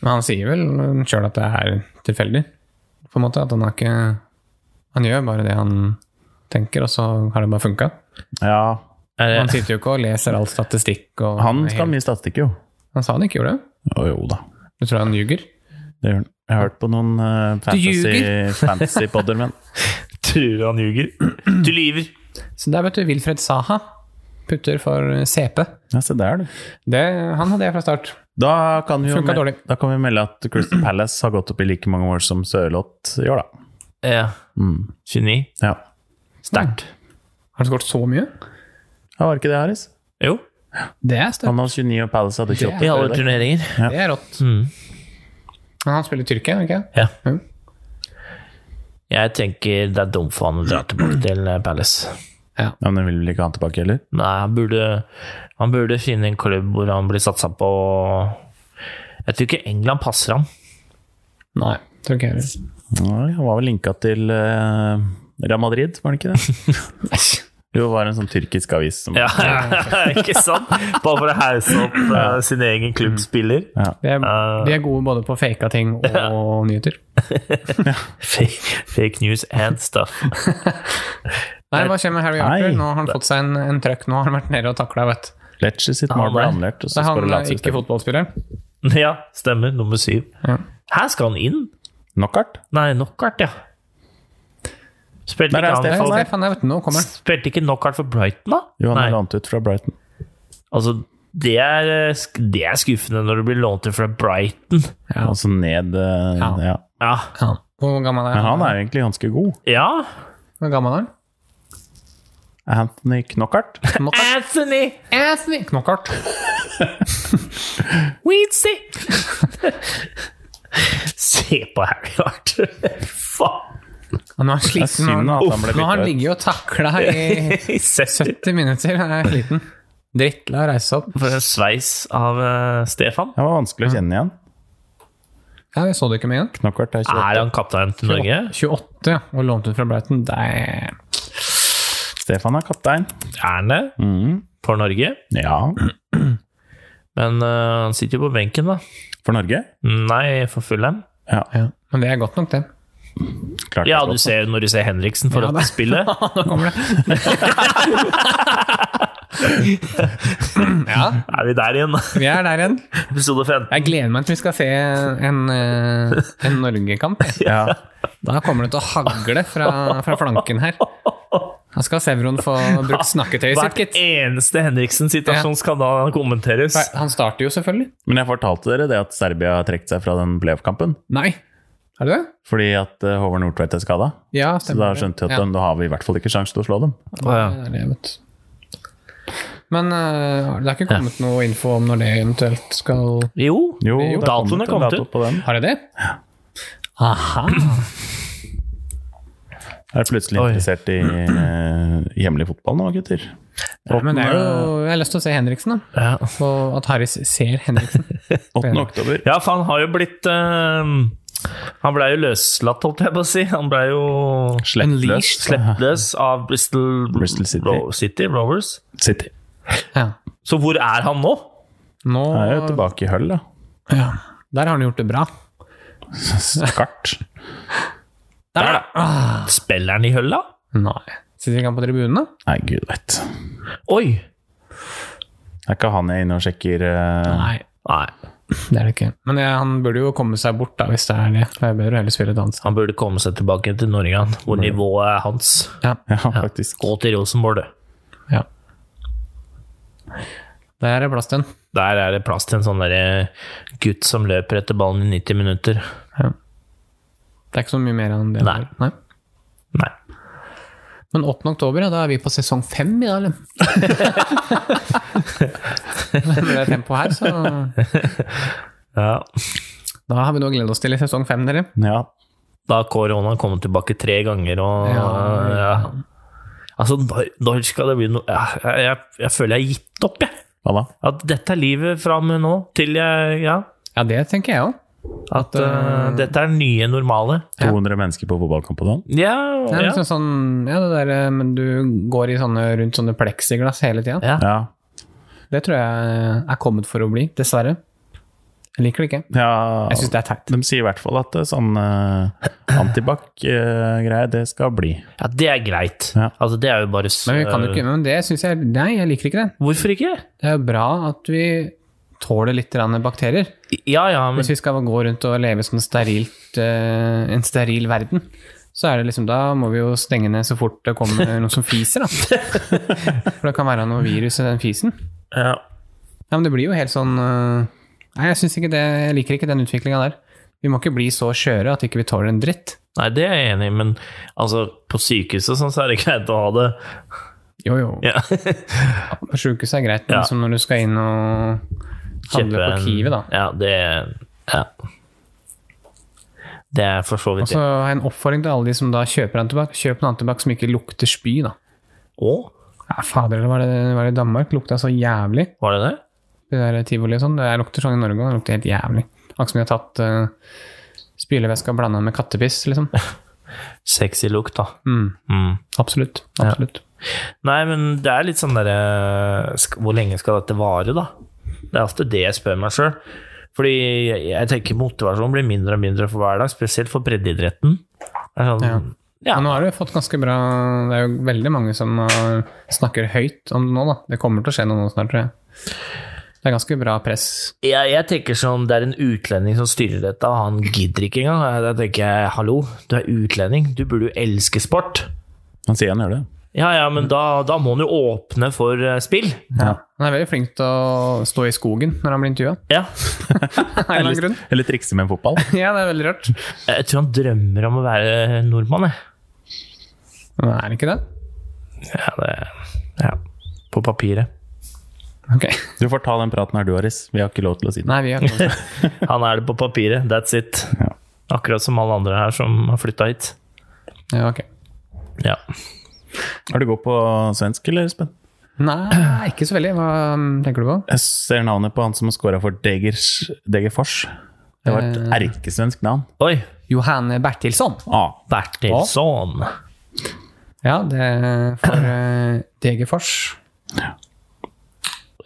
A: Men han sier vel sjøl at det er tilfeldig, på en måte. At han har ikke Han gjør bare det han tenker, og så har det bare funka.
C: Ja,
B: Er
A: Han
B: det,
A: sitter jo ikke og leser all statistikk og
C: han skal ha mye statistikk, jo.
A: Han sa han ikke gjorde det.
C: Å, jo da.
A: Du tror han ljuger?
C: Det gjør han. Jeg har hørt på noen eh, fantasy,
A: ljuger.
C: fantasy podder, men
B: tror han ljuger. Du lyver.
A: Så der vet du Wilfred Saha putter for CP.
C: ja, se der, du.
A: Det, han hadde jeg fra start.
C: Da kan, vi jo
A: Funka
C: mel-
A: dårlig.
C: da kan vi melde at Crystal Palace har gått opp i like mange år som Sørloth gjør, da.
B: Ja.
C: Mm.
B: Geni.
C: Ja.
B: Sterkt.
A: Mm. Har han skåret så mye?
C: Ja, var det ikke det, Haris?
B: Jo.
A: Det er sterkt.
C: Han hadde 29, og Palace hadde 28.
B: I alle turneringer.
A: Det er rått.
B: Mm.
A: Men han spiller Tyrkia, ikke sant?
B: Ja.
A: Mm.
B: Jeg tenker det er dumt for han å dra tilbake til eh, Palace.
C: Ja, men den vil vel ikke ha han tilbake heller?
B: Nei, han burde, han burde finne en klubb hvor han blir satsa på. Jeg tror ikke England passer ham.
A: Nei, tror ikke jeg heller.
C: Nei, han var vel linka til eh, Real Madrid, var han ikke det? Jo, det var en sånn tyrkisk avis som
B: Ja, ikke sant? Bare for å hause opp eh, sin egen klubbspiller.
A: De er,
C: Eh.
A: de er gode både på faka ting og nyheter.
B: Fake, fake news and stuff.
A: Nei, hva skjer med Harry Arthur?
C: Nei.
A: Nå har han fått seg en, en trøkk. Nå har han vært nede og takla, vet du.
C: Lecce sitt
B: Ja,
C: mål ble
B: nei.
C: annullert, og
A: Det
C: så
A: er
C: skårer
A: han eh, ikke
C: Lazio.
A: fotballspilleren.
B: Ja, stemmer. Nummer syv.
A: Ja.
B: Her skal han inn.
C: Knockout?
B: Nei, knockout, ja. Spilte
C: Der er
B: ikke, han
A: Nei,
C: Stefan
B: for,
C: der.
A: Stefan, jeg vet, du, nå kommer han.
B: spilte ikke knockout for Brighton, da?
C: Jo, han
B: Nei,
C: er lånt ut fra Brighton.
B: altså det er, eh, sk- det er skuffende når du blir lånt ut fra Brighton.
A: Ja.
C: Altså ned eh,
A: Ja.
C: ja.
B: Ja.
A: Hvor gammel er
C: Men han
A: han?
C: er jo egentlig ganske god.
B: ja.
A: Hvor gammel er han?
C: Anthony Knockout.
A: Knockout.
B: Anthony
A: Anthony Knockout.
B: Weedsy! Se på Harry Arthur. Faen.
A: Ja, nå er han
C: Det er
A: sliten.
C: synd
A: Nå,
C: at han ble
A: nå har han
C: bytta ut.
A: ligget og takla i
B: I 70
A: 70 minutter. Han er sliten. Drittla å reise seg opp.
B: for en sveis av eh, Stefan.
C: Han var vanskelig å kjenne igjen.
A: Ja, jeg så det ikke med en gang.
C: Knockout er 28.
B: Er han kaptein til Norge?
A: 28, ja. Og lånt ut fra Brighton. Det er
C: Stefan er kaptein.
B: Er han det?
C: Mm.
B: For Norge?
C: Ja.
B: Men eh, han sitter jo på benken, da.
C: For Norge?
B: Nei, for Fulham.
C: Ja.
A: ja. Men det er godt nok, det.
C: Klart
B: Ja,
C: det
B: du ser når du ser Henriksen for
A: Ja,
B: å
A: det-
B: spille.
A: Nå kommer det. ja,
B: Er vi der igjen?
A: vi er der igjen.
B: Episode 15.
A: Jeg gleder meg til vi skal se en, eh, en Norgekamp.
C: Ja.
A: Da kommer det til å hagle fra, fra flanken her. Da skal Sevron få brukt snakketøyet sitt,
B: Hvert
A: gitt.
B: eneste Henriksen-situasjon skal da kommenteres.
A: Han starter jo, selvfølgelig.
C: Men jeg fortalte dere det at Serbia har trukket seg fra den playoff-kampen.
A: Nei. Er det det?
C: Fordi at eh, Håvard Nordtveit er skada.
A: Ja,
C: Så da skjønte jeg at
A: ja.
C: da har vi i hvert fall ikke sjanse til å slå dem.
B: Å, ja.
A: det er det, vet du. Men eh, det er ikke kommet noe info om når det eventuelt skal
B: Jo,
C: Jo, det er
B: datoen er
C: en
B: kommet
C: dato
B: ut.
C: på den.
A: Har det det? Aha.
C: Er plutselig
B: Oi.
C: interessert i eh, hjemlig fotball nå, gutter.
A: Men det er jo, jeg har lyst til å se Henriksen, da.
B: Ja.
A: Og at Harris ser Henriksen.
C: 8. oktober.
B: Ja, for han har jo blitt eh, Han blei jo løslatt, holdt jeg på å si. Han blei jo
C: Slettløs.
B: sleppløs av Bristol,
C: Bristol City.
B: Ro- City Rovers.
C: City.
A: Ja.
B: Så hvor er han nå?
A: Nå
C: Han er jo tilbake i høll, da.
A: ja. Der har han gjort det bra.
C: Skart.
B: Der, da! Ah. Spiller han i hølla?
A: Nei. Sitter ikke han på tribunen, da?
C: Nei, gud veit.
B: Oi!
C: Er ikke han jeg er inne og sjekker eh,
A: Nei.
B: Nei,
A: Det er det ikke. Men ja, han burde jo komme seg bort, da, hvis det er det. Det er bedre å heller spille dans.
B: han burde komme seg tilbake til Norge, han. Hvor nivået er hans.
A: Ja.
C: Ja, faktisk.
B: Gå til Rosenborg, du.
A: ja. Der er det plass til en.
B: Der er det plass til en sånn derre gutt som løper etter ballen i 90 minutter.
A: Det er ikke så mye mer enn det.
B: Nei.
A: Nei.
B: Nei.
A: Men 8. oktober, ja, da er vi på sesong 5 i dag, eller? Med det tempoet her, så
B: Ja.
A: Da har vi noe å glede oss til i sesong 5, dere.
C: Ja.
B: Da har koronaen kommet tilbake tre ganger og ja.
A: Ja.
B: Altså, når, når skal det bli noe ja, jeg, jeg, jeg føler jeg har gitt opp, jeg.
C: Hva da?
B: At dette er livet fra og med nå til jeg Ja.
A: Ja, det tenker jeg òg.
B: At eh, dette er den nye normale.
C: 200 mennesker på fotballkamp og sånn?
B: Ja,
A: Ja,
B: ja.
A: Liksom sånn, ja, det der, eh, men du går i sånne, rundt sånne pleksiglass hele tida.
B: Ja.
C: Ja.
A: Det tror jeg er kommet for å bli, dessverre. Jeg liker det ikke.
C: ja.
A: Jeg syns det er teit.
C: De sier i hvert fall at eh, sånn uh, antibac-greie, det skal bli.
B: ja, det er greit.
C: Ja.
B: Altså, det er jo bare s-
A: Men vi kan jo ikke, men det syns jeg Nei, jeg liker ikke det.
B: Hvorfor ikke?
A: Det er jo bra at vi tåler litt grann bakterier.
B: Ja, ja, men
A: Hvis vi skal gå rundt og leve som en sterilt, eh, en steril verden, så er det liksom, da må vi jo stenge ned så fort det kommer noen som fiser. Da. For det kan være noe virus i den fisen.
B: ja.
A: Ja, men det blir jo helt sånn eh, Nei, jeg, synes ikke det, jeg liker ikke den utviklinga der. Vi må ikke bli så skjøre at ikke vi tåler en dritt.
B: Nei, det er jeg enig i, men altså, på sykehuset og sånn, så er det greit å ha det.
A: Jo, jo.
B: Ja.
A: På sjukehuset er greit, men
B: Ja.
A: som når du skal inn og handle
B: Kjøpe
A: på
B: en-
A: Kiwi, da.
B: Ja, det ja. Det er for så
A: Og
B: vidt
A: så
B: det.
A: har jeg en oppfordring til alle de som da kjøper antibac. Kjøp en antibac som ikke lukter spy, da.
B: Å,
A: Ja, fader, eller var det, var det i Danmark? Lukta så jævlig.
B: var det det?
A: Det der tivoli og sånn. Det lukter sånn i Norge òg. Det lukter helt jævlig. Akkurat som de har tatt uh, spylevæska blanda med kattepiss, liksom.
B: Sexy lukt, da.
A: Mm,
B: Mm.
A: absolutt. absolutt.
B: Nei, men det er litt sånn derre sk- Hvor lenge skal dette vare, da? Det er ofte det jeg spør meg sjøl. Fordi jeg jeg tenker motivasjonen blir mindre og mindre for hver dag, spesielt for breddeidretten. Det er sånn, Ja.
A: Men nå har du fått ganske bra Det er jo veldig mange som har- snakker høyt om det nå, da. Det kommer til å skje noe nå snart, tror jeg. Det er ganske bra press.
B: Jeg, jeg tenker sånn, det er en utlending som styrer dette, og han gidder ikke engang. Jeg- Da tenker jeg, hallo, du er utlending, du burde jo elske sport.
C: Han sier han gjør det.
B: Ja, ja, men da, da må han jo åpne for eh, spill.
A: Han er veldig flink til å stå i skogen når han blir intervjua.
B: Ja.
C: Eller, eller trikse med en fotball.
A: Ja, det er veldig rart.
B: Jeg tror han drømmer om å være nordmann, jeg.
A: Men er det ikke det?
B: Ja, det, ja. På papiret.
A: Ok.
C: Du får ta den praten her, du, Aris. Vi har ikke lov til å si det.
A: Nei, vi har ikke noe.
B: Han er det på papiret, that's it.
C: Ja.
B: Akkurat som alle andre her som har flytta hit.
A: Ja, ok.
B: Ja.
C: Har du gått på svensk, eller, Espen?
A: Nei, ikke så veldig. Hva mm, tenker du på?
C: Jeg ser navnet på han som har scora for Degers, Degerfors. Det var et erkesvensk navn.
B: Oi!
A: Johanne Bertilsson.
C: Ah,
B: Bertilsson.
A: Ja, det er for eh, Degerfors.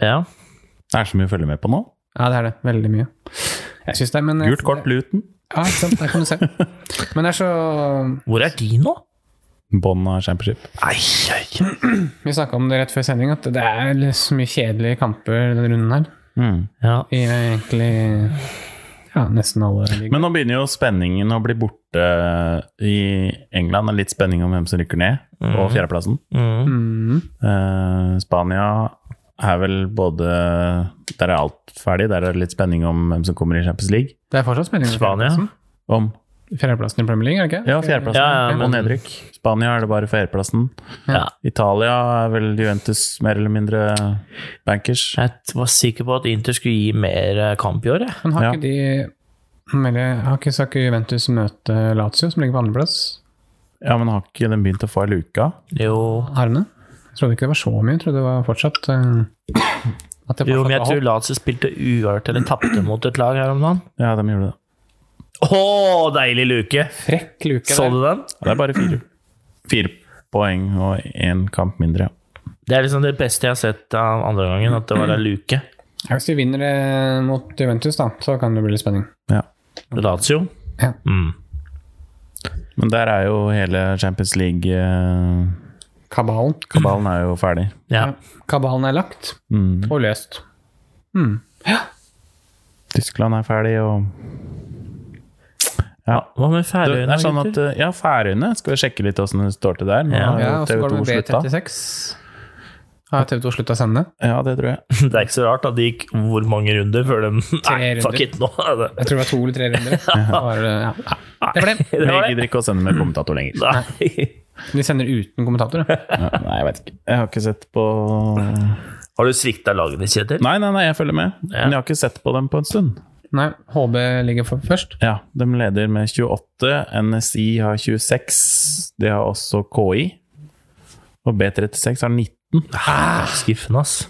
B: Ja.
C: det er så mye å følge med på nå.
A: Ja, det er det. Veldig mye. Jeg synes det, men
C: Gult kort, Luton.
A: Ja, ikke sant. Der kan du se. Men det er så
B: Hvor er de nå?
C: Bånn av championship.
B: Ai, ai.
A: Vi snakka om det rett før sending, at det er så mye kjedelige kamper denne runden her.
C: Mm.
B: Ja.
A: I egentlig ja, nesten alle ligaer.
C: Men nå begynner jo spenningen å bli borte i England. og Litt spenning om hvem som rykker ned, og fjerdeplassen.
B: Mm.
A: Mm.
C: Eh, Spania er vel både Der er alt ferdig. Der er det litt spenning om hvem som kommer i Champions League.
A: Det er fortsatt spenning. om
B: Spania?
A: fjerdeplassen.
C: Om
A: Fjerdeplassen i Premier League, er det ikke?
C: Ja, fjerdeplassen
B: Ja, ja, men-
C: og nedrykk. Spania er det bare fjerdeplassen.
B: ja.
C: Italia er vel Juventus mer eller mindre bankers.
B: Jeg var sikker på at Inter skulle gi mer eh, kamp i år, jeg.
A: Men har
C: Ja.
A: ikke de men det- Har ikke Saku Juventus møte Lazio, som ligger på andreplass?
C: Ja, men har ikke den begynt å få ei luke?
B: Jo.
A: Har den det? Jeg trodde ikke det var så mye. Jeg trodde det var fortsatt eh, at det
B: jo, men jeg
A: var
B: tror Lazio spilte uavgjort eller tapte mot et lag her om dagen.
C: Ja, de gjorde det.
B: Å, deilig luke!
A: frekk luke.
B: Så
A: der.
B: du den?
C: Ja, Det er bare fire. Fire poeng og én kamp mindre.
B: Det er liksom det beste jeg har sett av andre gangen, at det var ei luke.
A: Ja, Hvis de vinner eh, mot Juventus, da, så kan det bli litt spenning.
C: Ja.
B: Lazio.
A: Ja.
B: Mm.
C: Men der er jo hele Champions League-kabalen
A: Kabalen.
C: er jo ferdig.
B: Ja.
A: Kabalen er lagt
C: Mm.
A: og løst.
C: Tyskland er ferdig, og Ja.
B: Hva med
C: Det
B: Færøyene?
C: er sånn at,
B: gutter?
C: ja, Færøyene skal vi sjekke litt åssen det står til der. Nå
B: Ja.
C: har jo
A: Ja, og så går det
C: TV2
A: med
C: slutta.
A: B36. Har TV 2 slutta å sende?
C: Ja, det tror jeg.
B: Det er ikke så rart at det gikk hvor mange runder før de Nei, fuck
A: runder.
B: it, nå er det
A: Jeg tror det var to eller tre runder. Det var, ja. ja. Det var det.
B: Det
C: Jeg
B: var det.
C: gidder ikke å sende med kommentator lenger.
B: Nei.
A: De sender uten kommentator. da.
C: Ja, Nei, jeg vet ikke. Jeg har ikke sett på
B: Har du svikta laget ditt, Kjetil?
C: Nei, nei, nei, jeg følger med. Men jeg har ikke sett på dem på en stund.
A: Nei, HB ligger for først.
C: Ja, De leder med 28. NSI har 26. De har også KI. Og B36 har 19.
B: Skuffende, ass.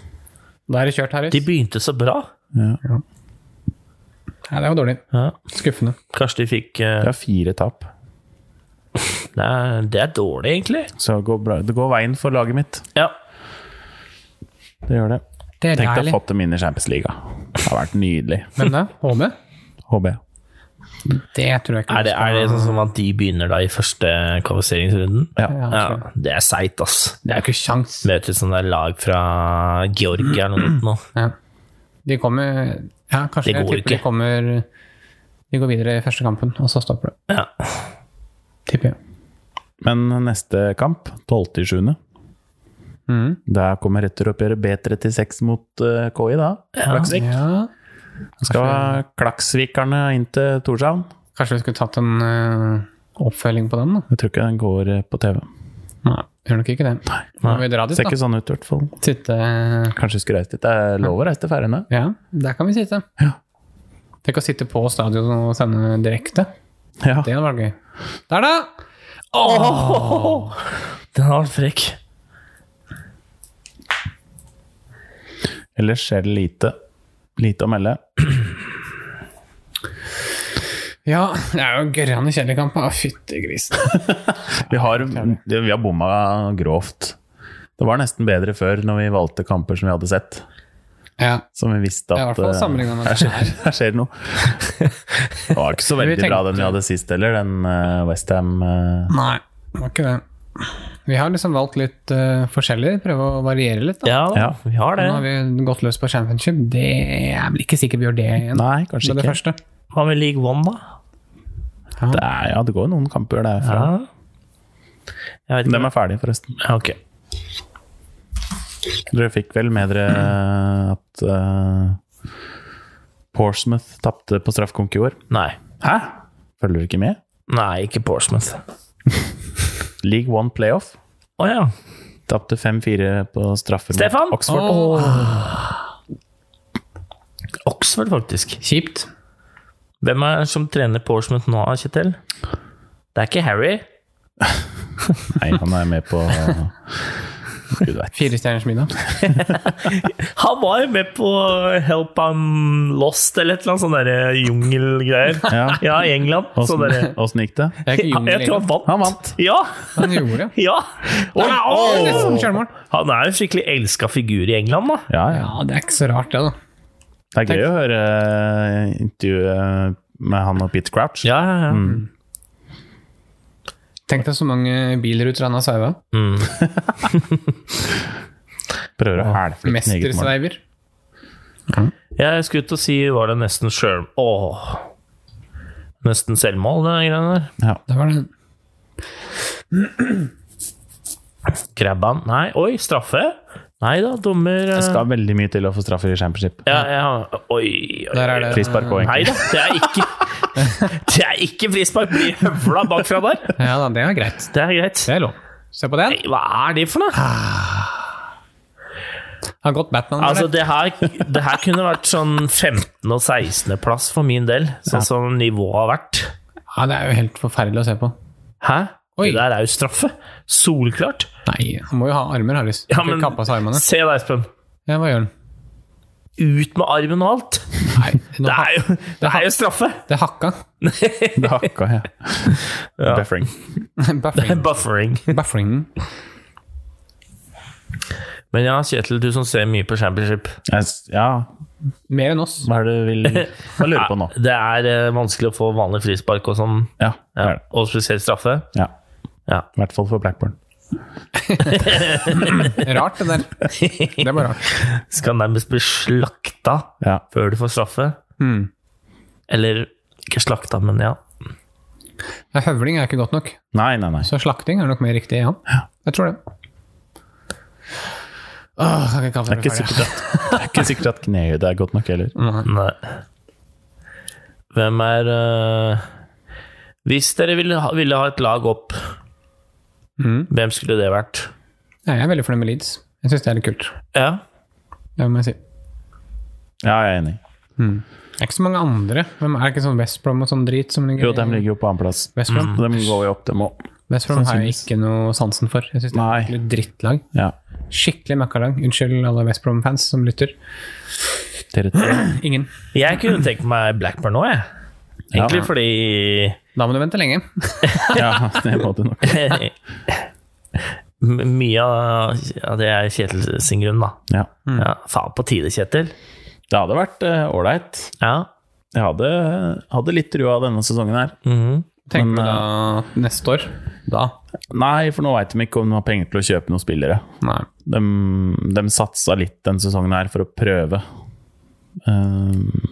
A: Da er det kjørt, Harris.
B: De begynte så bra.
A: Nei, det var dårlig.
B: Ja.
A: Skuffende.
B: Kanskje de fikk eh,
C: De har fire tap.
B: det, er, det er dårlig, egentlig.
C: Så det går, bra. det går veien for laget mitt.
B: Ja.
C: Det gjør det.
A: Det er
C: Tenk deg å ha
A: deilig.
C: fått dem inn i Champions League. Det har vært nydelig.
A: Men da, HB?
C: HB.
A: Det tror jeg ikke.
B: Er det, er det sånn som at de begynner da i første kvalifiseringsrunden?
C: Ja.
A: Ja, jeg tror det.
B: Ja, det er seigt, ass.
A: det er jo ikke sjans.
B: Møter et sånt der lag fra Georgia eller noe sånt nå.
A: Ja. De kommer Ja, kanskje
B: Det går
A: jeg tipper
B: ikke.
A: de kommer De går videre i første kampen, og så stopper det.
B: Ja.
A: Tipper jeg.
C: Men neste kamp, 12.7.,
A: Mhm.
C: der kommer returoppgjøret B36 mot eh, KI, da. Klaksvik.
A: Ja.
C: Skal Klaksvikerne inn til Tórshavn?
A: Kanskje vi skulle tatt en eh, oppfølging på den, da?
C: Jeg tror ikke den går eh, på TV.
A: Nei, gjør nok ikke det. Må vi dra dit,
C: Ser
A: da?
C: ikke sånn ut, i hvert fall.
A: Sitte
C: Kanskje vi skulle reist dit. Det er lov å reise til Færøyene.
A: Ja, der kan vi sitte.
C: Ja.
A: Tenk å sitte på stadion og sende direkte.
C: Ja.
A: Det hadde vært gøy. Der, da!
B: Den har vært frekk.
C: Ellers skjer det lite. Lite å melde.
A: Ja, det er jo gørrende kjedelig kamp. Å, fytti grisen.
C: Vi har, vi har bomma grovt. Det var nesten bedre før, når vi valgte kamper som vi hadde sett.
A: Ja.
C: Som vi visste
A: Det er i
C: at
A: hvert fall
C: eh,
A: sammenlignet med
C: her,
A: det
C: skjer, her skjer det noe. Det var ikke så
A: Men vi
C: veldig bra
A: tenkte-
C: eh, den vi hadde sist heller, den Westham
A: Nei. Det var ikke det. Vi har liksom valgt litt eh, forskjellig, prøve å variere litt. da.
B: Ja,
C: Ja.
B: vi har det.
A: Nå har vi gått løs på championship. Det er vel ikke sikkert vi gjør det igjen.
C: Nei, kanskje
A: med det
C: ikke.
A: første.
B: Hva med League One, da?
C: Det er, ja, det går jo noen kamper derfra.
B: Ja. Jeg vet ikke.
C: De er ferdige, forresten.
B: Ja, ok.
C: Dere fikk vel med dere at uh, Porsmouth tapte på straffekonk i år?
B: Nei.
C: Hæ? Følger dere ikke med?
B: Nei, ikke Portsmouth.
C: League One playoff.
B: Å ja.
C: Tapte 5-4 på straffer mot
B: Stefan!
C: Oxford.
B: Oxford, faktisk.
A: Kjipt.
B: Hvem er det som trener Portsmouth nå, Kjetil? Det er ikke Harry.
C: Nei, han er med på Gud vet.
A: Fire stjerners middag.
B: Han var jo med på Help I'm Lost eller et eller annet sånn derre jungelgreier.
C: Ja.
B: Ja, i England. Sånn
C: Åssen
B: derre
C: åssen gikk det?
A: Det er ikke
B: ja,
A: jungel
B: Jeg tror
A: lenger.
B: han vant.
C: Han vant.
B: Ja!
A: Han gjorde det.
B: Ja! Oi,
A: Nei,
B: å!
A: å, nesten selvmål.
B: Han er jo en skikkelig elska figur i England, da.
C: Ja, ja.
A: Ja, det er ikke så rart, det, da.
C: Det er gøy å høre eh, intervjuet eh, med han og Pete Crouch.
B: Ja, ja, ja.
A: Tenk deg så mange bilruter han har sveiva.
C: Prøver å hælflytte sin eget mål.
A: Mestersveiver.
B: Jeg skulle ut og si var det nesten sjøl... Åh. Nesten selvmål, det greiene der.
C: Ja.
A: Det var det.
B: Krabban. Nei, oi, straffe? Nei da, dommer eh,
C: Det skal veldig mye til å få straffer i championship.
B: ja, ja, Oi, oi.
A: Der er det.
C: Frispark òg,
B: Nei
C: egentlig.
B: da, det er ikke Det er ikke frispark! Bli høvla bakfra der!
A: Ja da, det er greit.
B: Det er greit.
A: Det er lov. Se på den.
B: Nei, Hva er det for noe?
A: Har gått Batman. der.
B: Altså, det her, det her kunne vært sånn 15- og 16.-plass for min del, sånn som nivået har vært.
A: ja, det er jo helt forferdelig å se på.
B: Hæ?
A: Oi.
B: Det der er jo straffe! Solklart.
A: Nei, han må jo ha armer, Harris.
B: Ja,
A: Ja, men...
B: men-
A: Kappa seg armene.
B: Se deg, Espen.
A: Ja, hva gjør han?
B: Ut med armen og alt!
A: Nei, nå
B: Det
A: ha-
B: er jo, det er jo straffe!
A: det hakka.
C: Det hakka, ja. Buffering.
A: Buffering.
B: Buffering.
A: Buffering.
B: Men ja, Kjetil, du som ser mye på Championship.
C: Jeg s- Ja,
A: Mer enn oss.
C: hva er det du vil Hva lurer du på nå?
B: Det er eh, vanskelig å få vanlig frispark og sånn.
C: Ja, det
B: Ja.
C: er det.
B: Og spesielt straffe.
C: Ja.
B: Ja.
C: I hvert fall for Blackburn.
A: Rart, det der. Det var rart.
B: Skal nærmest bli slakta
C: Ja.
B: før du får straffe.
A: Hmm.
B: Eller ikke slakta, men ja.
A: Ja, høvling er ikke godt nok,
C: Nei, nei, nei.
A: så slakting er nok mer riktig. Ja. Jeg tror det. Åh, kan ikke kaffe
C: Det er ikke sikkert at, det er ikke sikkert at kneet er godt nok heller.
B: Nei. Hvem er eh, Hvis dere ville ha, ville ha et lag opp,
A: Mhm.
B: hvem skulle det vært?
A: Nei, jeg er veldig fornøyd med Leeds. Jeg syns det er litt kult.
B: Ja.
A: Det må jeg si.
C: Ja, jeg er enig.
A: Det er ikke så mange andre. Hvem er det ikke sånn West Brom og sånn drit som ligger
C: Jo, de ligger jo på annenplass.
A: West Brom?
C: De går jo opp, dem òg.
A: West Brom har jeg ikke noe sansen for. Jeg syns det
C: Nei.
A: er et drittlag.
C: Ja.
A: Skikkelig møkkalag. Unnskyld alle West Brom-fans som lytter.
C: Territorium.
A: Ingen.
B: Jeg kunne tenkt meg Blackburn nå, jeg. Egentlig
C: Ja.
B: fordi
A: Da må du vente lenge.
C: Ja, det må du nok.
B: M- Mye av av det er Kjetil sin grunn, da.
C: Ja.
B: Ja, faen på tide, Kjetil.
C: Det hadde vært eh, ålreit.
B: Ja.
C: Jeg hadde, hadde litt trua denne sesongen her.
B: Mhm.
A: Tenker
C: Men,
A: du
C: eh,
A: da neste år? Da?
C: Nei, for nå veit de ikke om de har penger til å kjøpe noen spillere.
A: Nei.
C: De, de satsa litt denne sesongen her for å prøve. Eh,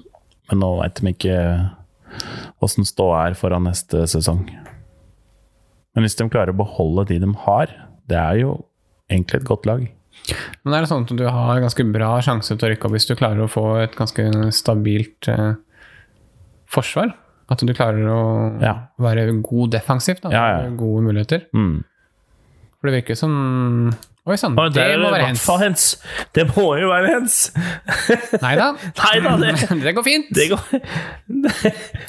C: men nå veit de ikke åssen ståa er foran neste sesong. Men hvis de klarer å beholde de de har, det er jo egentlig et godt lag.
A: Men er det sånn at du har ganske bra sjanse til å rykke opp hvis du klarer å få et ganske stabilt eh, forsvar? At du klarer å
C: Ja.
A: være god defensivt? Da.
C: Ja, ja.
A: Gode muligheter?
C: Mm.
A: For det virker som Oi sann,
B: Og
A: det
B: der er
A: må
B: i
A: være
B: hvert
A: hens.
B: fall hens. Det må jo være hens!
A: Nei da.
B: Nei da, det,
A: Det går fint!
B: det går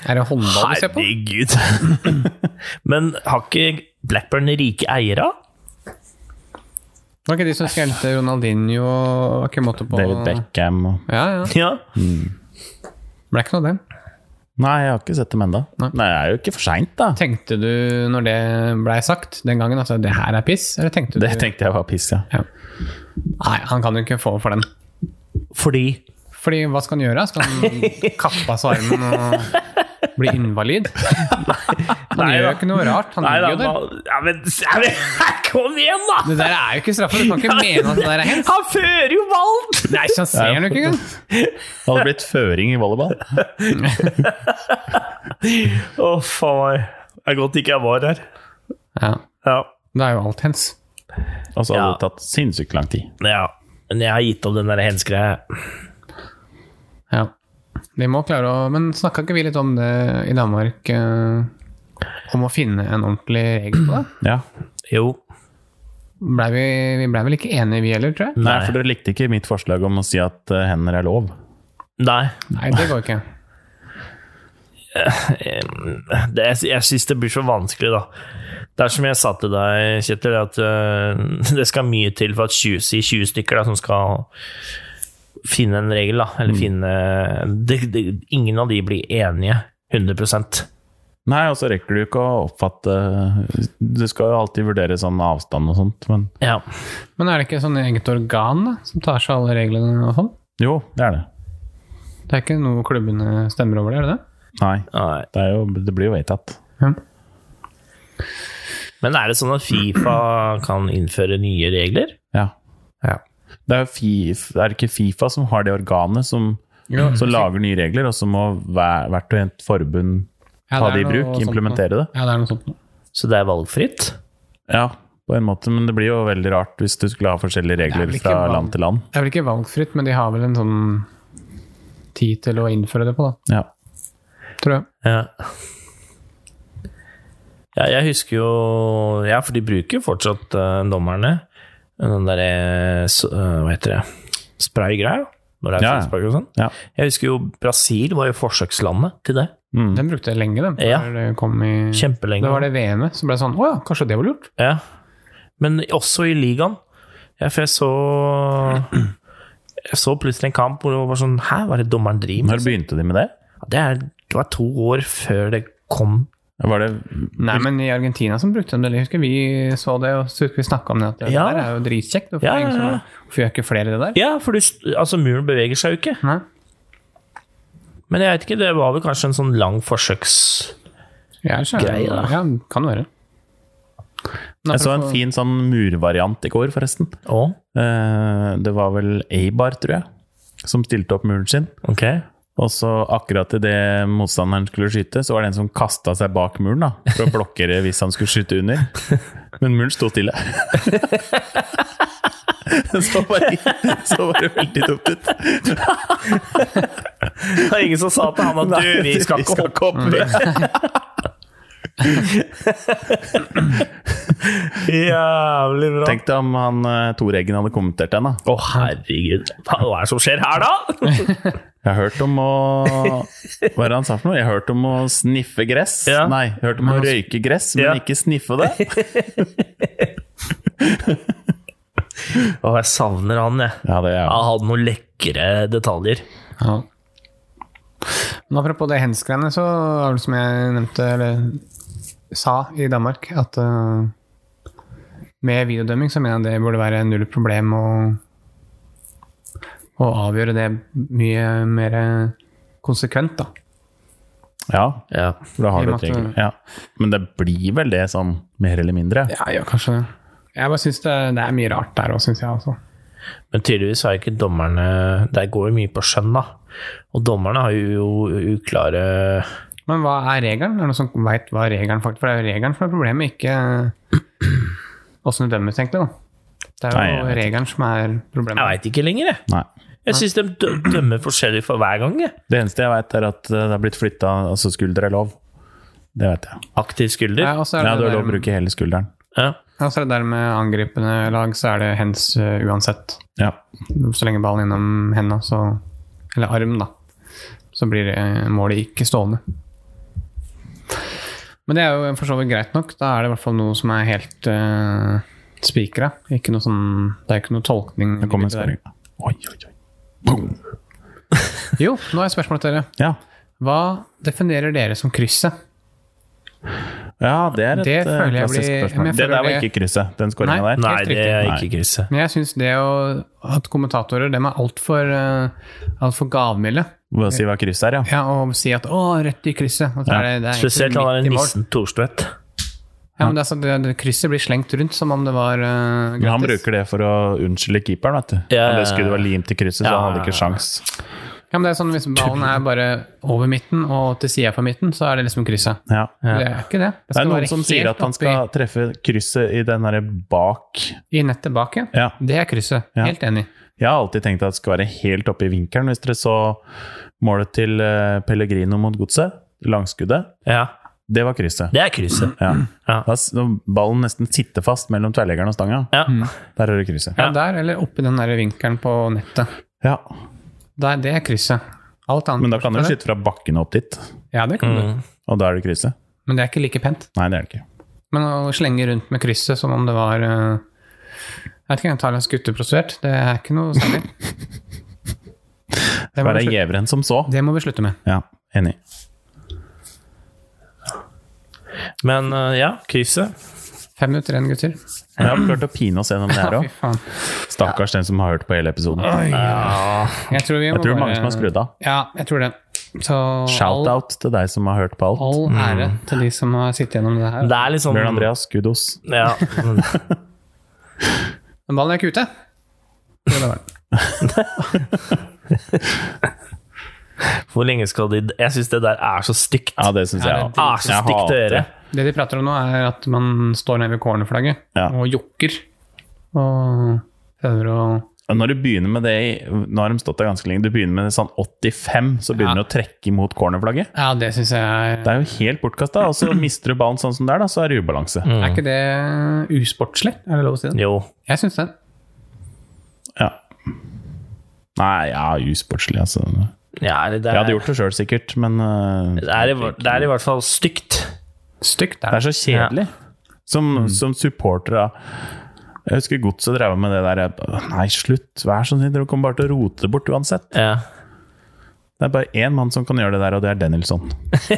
A: Er det håndball du ser på?
B: Herregud. Men har ikke Blackburn rike eiere?
A: Var ikke de som skrelte Ronaldinho og var ikke måte på
C: David Beckham og
A: Ja, ja.
B: Ja.
A: Ble ikke noe av det.
C: Nei, jeg har ikke sett dem ennå.
A: Nei.
C: Nei. det er jo ikke for seint, da.
A: Tenkte du når det blei sagt den gangen at det her er piss, eller tenkte du
C: Det tenkte jeg var piss, ja.
A: Nei, han kan jo ikke få for den.
B: Fordi
A: Fordi hva skal han gjøre? Skal han kappe av seg armen og Bli invalid? Han
B: Nei
A: gjør jo
B: da.
A: ikke noe rart. Han
B: Nei da,
A: ligger jo der.
B: hva- ja, men, ja, men Kom igjen, da!
A: Det der er jo ikke straffa. Du kan ikke mene at det der er hens.
B: Han fører jo ballen!
A: Nei, så han ser den jo ikke engang.
C: Det hadde blitt føring i volleyball.
B: Å, faen meg. Det er godt ikke jeg var her.
A: Ja,
B: Ja.
A: det er jo alt hens.
C: Og så hadde
B: Ja.
C: det tatt sinnssykt lang tid.
B: ja. Men jeg har gitt opp den der hens-greia.
A: Ja. Vi må klare å Men snakka ikke vi litt om det i Danmark? eh, om å finne en ordentlig regel på det?
C: Ja.
B: Jo.
A: Blei vi, vi blei vel ikke enige, vi heller, tror jeg?
C: Nei, for dere likte ikke mitt forslag om å si at eh, hender er lov.
B: Nei.
A: Nei, det går ikke.
B: Det, jeg jeg syns det blir så vanskelig, da. Det er som jeg sa til deg, Kjetil, at øh, det skal mye til for at 20, si 20 stykker da, som skal finne en regel, da. Eller finne det, det, Ingen av de blir enige 100
C: Nei, og så rekker du ikke å oppfatte Du skal jo alltid vurdere sånn avstand og sånt, men
B: Ja.
A: Men er det ikke sånn eget organ da, som tar seg av alle reglene og sånn?
C: Jo, det er det.
A: Det er ikke noe klubbene stemmer over, det, er det det?
C: Nei.
B: Nei.
C: Det, er jo, det blir jo vedtatt.
A: Ja.
B: Men er det sånn at Fifa kan innføre nye regler?
C: Ja.
B: Ja.
C: Det er jo FIF, er det ikke Fifa som har det organet som,
A: Jo,
C: som
A: sikkert.
C: lager nye regler, og så må hver, hvert og et forbund
A: Ja,
C: ta
A: det er
C: det i
A: noe
C: bruk,
A: sånt
C: implementere det?
A: Ja, det er noe sånt noe.
B: Så det er valgfritt?
C: Ja, på en måte, men det blir jo veldig rart hvis du skulle ha forskjellige
A: Det er
C: regler
A: vel ikke
C: fra
A: valg.
C: land til land.
A: Det er vel ikke valgfritt, men de har vel en sånn tid til å innføre det på, da.
C: Ja.
A: Tror jeg.
B: Ja. ja, jeg husker jo Ja, for de bruker jo fortsatt eh, dommerne. Den derre eh, Hva heter det? Spraygreia? Når det er
C: Ja, ja.
B: frispark og sånn.
C: Ja.
B: Jeg husker jo Brasil var jo forsøkslandet til det.
C: Mm.
A: Den brukte jeg lenge, den.
B: Ja.
A: før Det kom i
B: Kjempelenge.
A: Da var det VM-et som ble sånn Å ja, kanskje det var lurt?
B: Ja. Men også i ligaen. Ja, for jeg så Jeg så plutselig en kamp hvor det var sånn Hæ, hva er det dommeren driver med?
C: Når begynte de med det?
B: Det, er, det var to år før det kom
C: Var det
A: Nei, men i Argentina som brukte de det. Jeg husker vi så det, og så husker vi snakka om det. At det
B: Ja.
A: der er jo dritkjekt. Hvorfor
B: Ja,
A: er det ingen
B: ja,
A: som-
B: ja.
A: hvorfor gjør ikke flere det der?
B: Ja, for du, altså, muren beveger seg jo ikke.
A: Nei?
B: Men jeg vet ikke, det var vel kanskje en sånn lang forsøks...
A: Jeg er
B: Greie, da.
A: Ja, kan være. Men
C: Jeg så en
A: apropos-
C: fin sånn murvariant i går, forresten.
B: Å,
C: Eh, Det var vel Eibar, tror jeg, som stilte opp muren sin.
B: ok.
C: Og så akkurat idet motstanderen skulle skyte, så var det en som kasta seg bak muren da, for å blokkere hvis han skulle skyte under. Men muren sto stille. Så bare, så bare veldig dumt ut.
B: Det var ingen som sa til han at du, vi skal Mm. ikke hoppe.
C: opp.
B: Jævlig bra.
C: Tenk deg om han eh, Tor Eggen hadde kommentert den. da.
B: Å, herregud. Hva hva er det som skjer her, da?
C: Jeg har hørt om å Hva er det han sa for noe? Jeg har hørt om å sniffe gress.
B: Ja. Mm.
C: Nei, jeg har hørt om å røyke gress, men
B: Ja.
C: ikke sniffe det.
B: Å, jeg savner han, jeg.
C: Ja, det er
B: Han hadde noen lekre detaljer.
A: Ja. Men apropos det hens-greiene, så var det som jeg nevnte, eller sa i Danmark, at eh, med videodømming så mener jeg det burde være null problem å, å avgjøre det mye mer konsekvent, da.
C: Ja,
B: Ja.
C: for da
A: I
C: har
A: og
C: du
A: med
C: et
A: at du-
C: regel. Ja. Men det blir vel det sånn, mer eller mindre?
A: Ja, ja, kanskje det. Jeg bare syns det, det er mye rart der òg, syns jeg. Altså.
B: Men tydeligvis har ikke dommerne... Der går jo mye på skjønn, da. Og dommerne har jo uklare...
A: Men hva er regelen? Er det noen som veit hva regelen faktisk For det er jo regelen som er problemet, ikke åssen det dømmes, egentlig. Da. Det er
C: Nei,
A: jo
C: jeg vet
A: regelen som er problemet.
B: Jeg veit ikke lenger, jeg.
C: Nei.
B: Jeg syns de dø- dømmer forskjellig for hver gang, jeg.
C: Det eneste jeg vet, er at eh, det har blitt flytta altså skulder er lov. Det vet jeg.
B: Aktiv skulder.
A: Ja, altså. og så er det,
C: Ja, du
A: det
C: har lov å
A: der,
C: bruke hele skulderen.
B: Ja.
A: ja, så er det der med angripende lag, så er det hands eh, uansett.
C: Ja.
A: Så lenge ballen innom henda, så Eller arm, da. Så blir eh, målet ikke stående. Men det er jo for så vidt greit nok. Da er det i hvert fall noe som er helt uh, spikra. Ikke noe sånn Det er ikke noe tolkning.
C: Det kom en
A: i det
C: skåring.
A: der.
C: Oi, oi, oi. Boom.
A: Jo, nå har jeg et spørsmål til dere.
C: Ja.
A: Hva definerer dere som krysset?
C: Ja, det er et
A: Det
C: eh,
A: føler jeg
C: klassisk
A: blir-
C: spørsmål.
A: men jeg
C: Det
A: føler
C: der var
A: det-
C: ikke krysset, den skåringa der.
B: Nei,
A: Helt
B: det er
C: riktig.
B: ikke krysset.
A: Men jeg syns det å at kommentatorer dem er altfor alt for gavmilde.
C: Hvor å si hva kryss er, ja.
A: Ja, og si at 'å, rett i krysset'. Og så
C: Ja.
A: er det, det er egentlig
B: Spesielt han
A: midt
B: der
A: i mål.
B: nissen Thorstvedt.
A: Ja, men det, er sånn- det, det, krysset blir slengt rundt som om det var eh,
C: Men han
A: gratis.
C: bruker det for å unnskylde keeperen, vet du.
B: Ja,
C: Og
B: ja,
C: det skuddet var
B: ja.
C: limt i krysset, så
B: Ja,
C: han hadde
B: ja,
C: ikke
B: ja.
C: sjans.
A: Ja, men det er sånn Hvis ballen er bare over midten og til sida for midten, så er det liksom krysset.
C: Ja.
A: Det er ikke det.
C: Det er noen som sier at han skal treffe krysset i den derre bak
A: i, i nettet bak igjen.
C: Ja.
A: Det er krysset.
C: Ja.
A: Helt enig.
C: Jeg har alltid tenkt at det skal være helt oppe i vinkelen. Hvis dere så målet til eh, Pellegrino mot Godset, langskuddet,
B: Ja,
C: det var krysset.
B: det er krysset.
C: Ja.
B: Ja.
C: Da s- når ballen nesten sitter fast mellom tverrleggeren og stanga.
B: Ja.
C: Der er det krysset.
A: Ja.
B: Ja.
A: Der, eller oppi den der vinkelen på nettet.
C: Ja.
A: Der, det er krysset. Alt annet
C: Men da kan dere
A: bortsett fra det-
C: skyte fra bakken opp dit,
A: Ja, det kan du.
B: Mm.
C: og da er det krysset.
A: Men det er ikke like pent.
C: Nei, det er det ikke.
A: Men å slenge rundt med krysset som om det var eh, Jeg vet ikke, en thailandsk gutteprostituert. Det er ikke noe særlig. Det må,
C: Bare
A: vi slutte,
C: gjeveren som så.
A: det må vi slutte med.
C: Ja, enig.
B: Men eh, ja, krysset.
A: Fem minutter igjen, gutter.
C: Men jeg har klart å pine oss gjennom det her
A: Fy
C: òg.
A: faen.
C: Stakkars den som har hørt på hele episoden. Jeg
A: Jeg tror vi må
C: tror det
A: bare
C: er mange som har skrudd av.
A: Ja, jeg tror det. Så all,
C: Shout-out til deg som har hørt på alt.
A: all ære til de som har sittet gjennom det her.
B: Det er liksom
C: Bjørn Andreas, kudos.
B: Ja.
A: Men ballen er ikke ute. Jo, det var den.
B: Hvor lenge skal de Jeg syns det der er så stygt.
C: Ja, det syns jeg Ah,
A: Ja,
C: òg.
A: det
B: er så stygt å gjøre.
A: Det de prater om nå, er at man står nede ved cornerflagget
C: Ja.
A: og jokker. Og prøver å
C: Og Når du begynner med det i- Nå har de stått der ganske lenge. Du begynner med sånn 85, så
A: Ja.
C: begynner du å trekke imot cornerflagget.
A: Ja, det syns jeg er
C: Det er jo helt bortkasta. Og så mister du ballen sånn som det er, da, så er det ubalanse.
B: Mm.
A: Er ikke det usportslig? Er det lov å si det?
B: Jo.
A: Jeg syns det.
C: Ja. Nei, ja, usportslig, altså.
B: Ja, det,
C: Jeg
B: er,
C: hadde gjort det sjøl, sikkert, men øh,
B: det, er i, hvert- det er i hvert fall stygt.
A: Stygt
C: Det
A: er det.
C: er så kjedelig. Som,
B: Mm.
C: som supporter av Jeg husker Godset drev med det der jeg- Nei, slutt, vær så snill, dere kommer bare til å rote det bort uansett.
B: Ja.
C: Det er bare én mann som kan gjøre det der, og det er Danielson.
B: Fy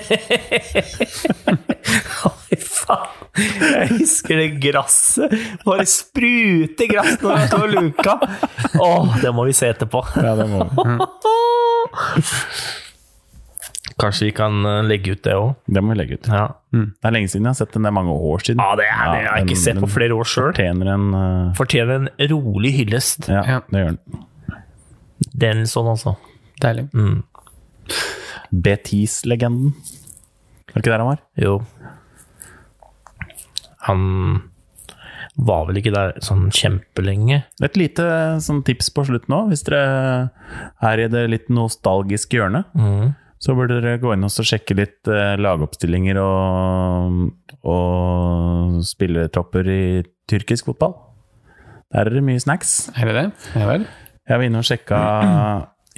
B: faen! Jeg husker det gresset. Bare sprute gress når jeg står luka. Å, det må vi se etterpå.
C: Ja, det må vi.
B: Kanskje vi kan eh, legge ut det òg.
C: Det må vi legge ut.
B: Ja.
C: Det er lenge siden jeg har sett den. Det er mange år siden.
B: ja, det er det. Jeg har ikke sett på flere år sjøl.
C: Fortjener en eh,
B: Fortjener en rolig hyllest.
C: ja,
A: Ja.
C: det gjør den.
B: Denilson, altså.
A: Deilig.
B: Mm.
C: Betis-legenden. Var det ikke der han var?
B: Jo. Han var vel ikke der sånn kjempelenge.
C: Et lite sånn, tips på slutten òg, hvis dere er i det litt nostalgiske hjørnet.
B: Mm.
C: Så burde dere gå inn og så sjekke litt eh, lagoppstillinger og, og spillertropper i tyrkisk fotball. Der er det mye snacks.
A: Er det det? Ja vel.
C: Jeg var inne og sjekka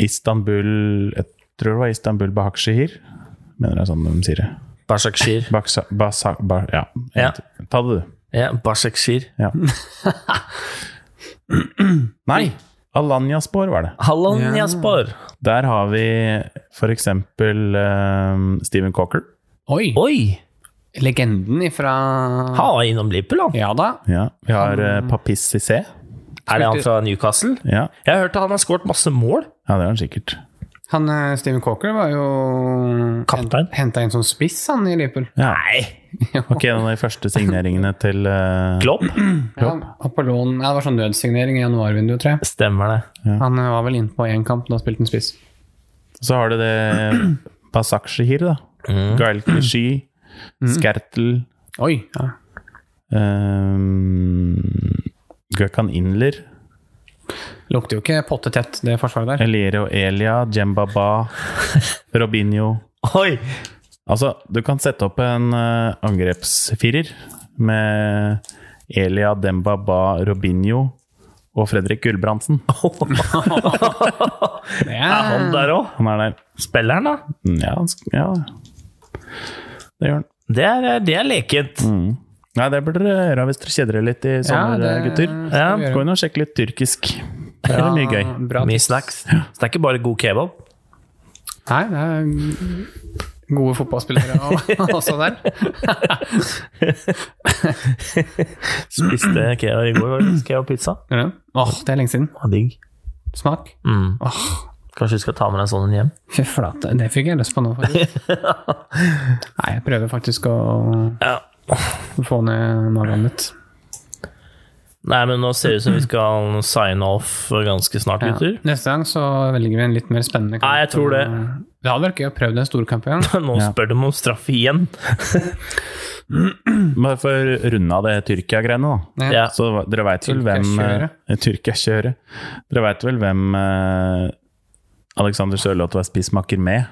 C: Istanbul Jeg tror det var Istanbul Bahakshehir. Mener det er sånn de sier det.
B: Bashakshir.
C: Baksa, basa, ba, ja.
B: Ja.
C: Ta det, du.
B: Ja, Bashakshir.
C: Ja. Nei! Alanyaspor var det.
B: Hallan
A: Ja.
B: Jaspar.
C: Der har vi for eksempel eh, Steven Cocker.
A: Oi!
B: Oi!
A: Legenden ifra
B: Han var innom Liverpool, han.
A: Ja da.
C: Ja. Vi har eh, Papis Cissé.
B: Er det han fra Newcastle?
C: Ja.
B: Jeg har hørt at han har skåret masse mål.
C: ja, det har han sikkert.
A: Han eh, Steven Cocker var jo
B: Kaptein.
A: Henta inn som spiss, han, i Liverpool.
C: Ja.
B: Nei!
C: Ok, en av de første signeringene til eh,
B: Klopp?
A: Ja, og på lån ja, Det var sånn nødsignering i januarvinduet, tror jeg.
B: Stemmer det.
A: Han eh, var vel inne på én kamp da han spilte en spiss.
C: Så har du det Basakshehir, da. Gael Clichy, Skertel
A: Oi! Ja.
C: um, Gökhan Inler,
A: Lukter jo ikke pottetett, det forsvaret der.
C: Eliro Elia, Djembaba, Robinho
B: Oi!
C: Altså, du kan sette opp en eh, angrepsfirer med Elia, Dembaba, Robinho og Fredrik Gulbrandsen.
A: Det
B: Er han
A: er,
B: der òg?
C: Han er der. Mm,
B: Spiller han, da?
C: Ja, han sk- ja. det gjør han.
B: Det er, det er lekent.
C: Nei, det burde dere gjøre hvis dere kjeder dere litt i sommer, eh,
A: Ja, det-
C: gutter.
B: Ja,
A: vi gjøre.
C: Gå inn og sjekk litt tyrkisk. Der er det mye gøy.
A: bra
B: Mye snacks. Så det er ikke bare god kebab.
A: Nei, det er gode fotballspillere og, også der.
B: Spiste kebab i går, faktisk. kebab og pizza.
A: Ja. Åh, det er lenge siden.
B: Det var digg.
A: Smak.
B: Mm.
A: Åh,
B: Kanskje du skal ta med deg en sånn hjem?
A: fy flate. Det fikk jeg lyst på nå, faktisk. Nei, jeg prøver faktisk å
B: Ja.
A: få ned magen litt.
B: Nei, men nå ser det ut som vi skal sign off ganske snart,
A: Ja.
B: gutter.
A: Neste gang så velger vi en litt mer spennende kamp.
B: Nei, jeg tror det.
A: Det hadde vært gøy å prøve den storkamp igjen.
B: Nå
C: Ja.
B: spør de om straff igjen.
C: Men for å runde av det Tyrkia-greiene, da.
B: Ja.
C: Så dere veit vel hvem
A: Tyrkia-kjøret.
C: eh, Tyrkia-kjøret. Dere veit vel hvem eh, Alexander Sørloth var spissmaker med?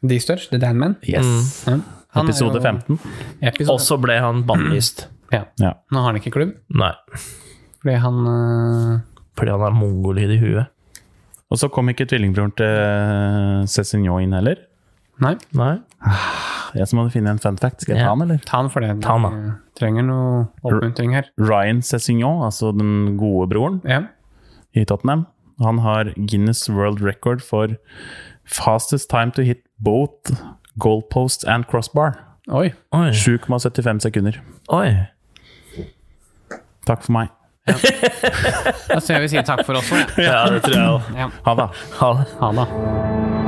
A: De største, The Dan Man.
C: Yes.
A: Ja. Han er
C: Episode
A: jo-
C: 15.
A: Episode.
B: Og så ble han bannlyst.
A: Ja.
C: Ja.
A: Nå har han ikke klubb,
B: Nei,
A: fordi han øh,
B: fordi han er mongolid i huet.
C: Og så kom ikke tvillingbroren til Cézinho inn heller.
A: Nei,
B: Nei.
C: Jeg som hadde funnet en fun fact. Skal jeg
B: Ja.
C: ta den, eller?
A: ta han for det.
B: Ta han, da.
A: Vi Trenger noe oppmuntring her.
C: Ryan Cézinho, altså den gode broren
A: Ja.
C: i Tottenham, han har Guinness World Record for fastest time to hit both goalpost and crossbar.
A: Oi.
B: Oi.
C: 7,75 sekunder.
B: Oi.
C: Takk for meg.
A: Da ser vi sier takk for oss. også,
B: Ja, det tror jeg òg.
A: Ja. Ja.
C: Ha det.
B: Ha det.
A: Ha det.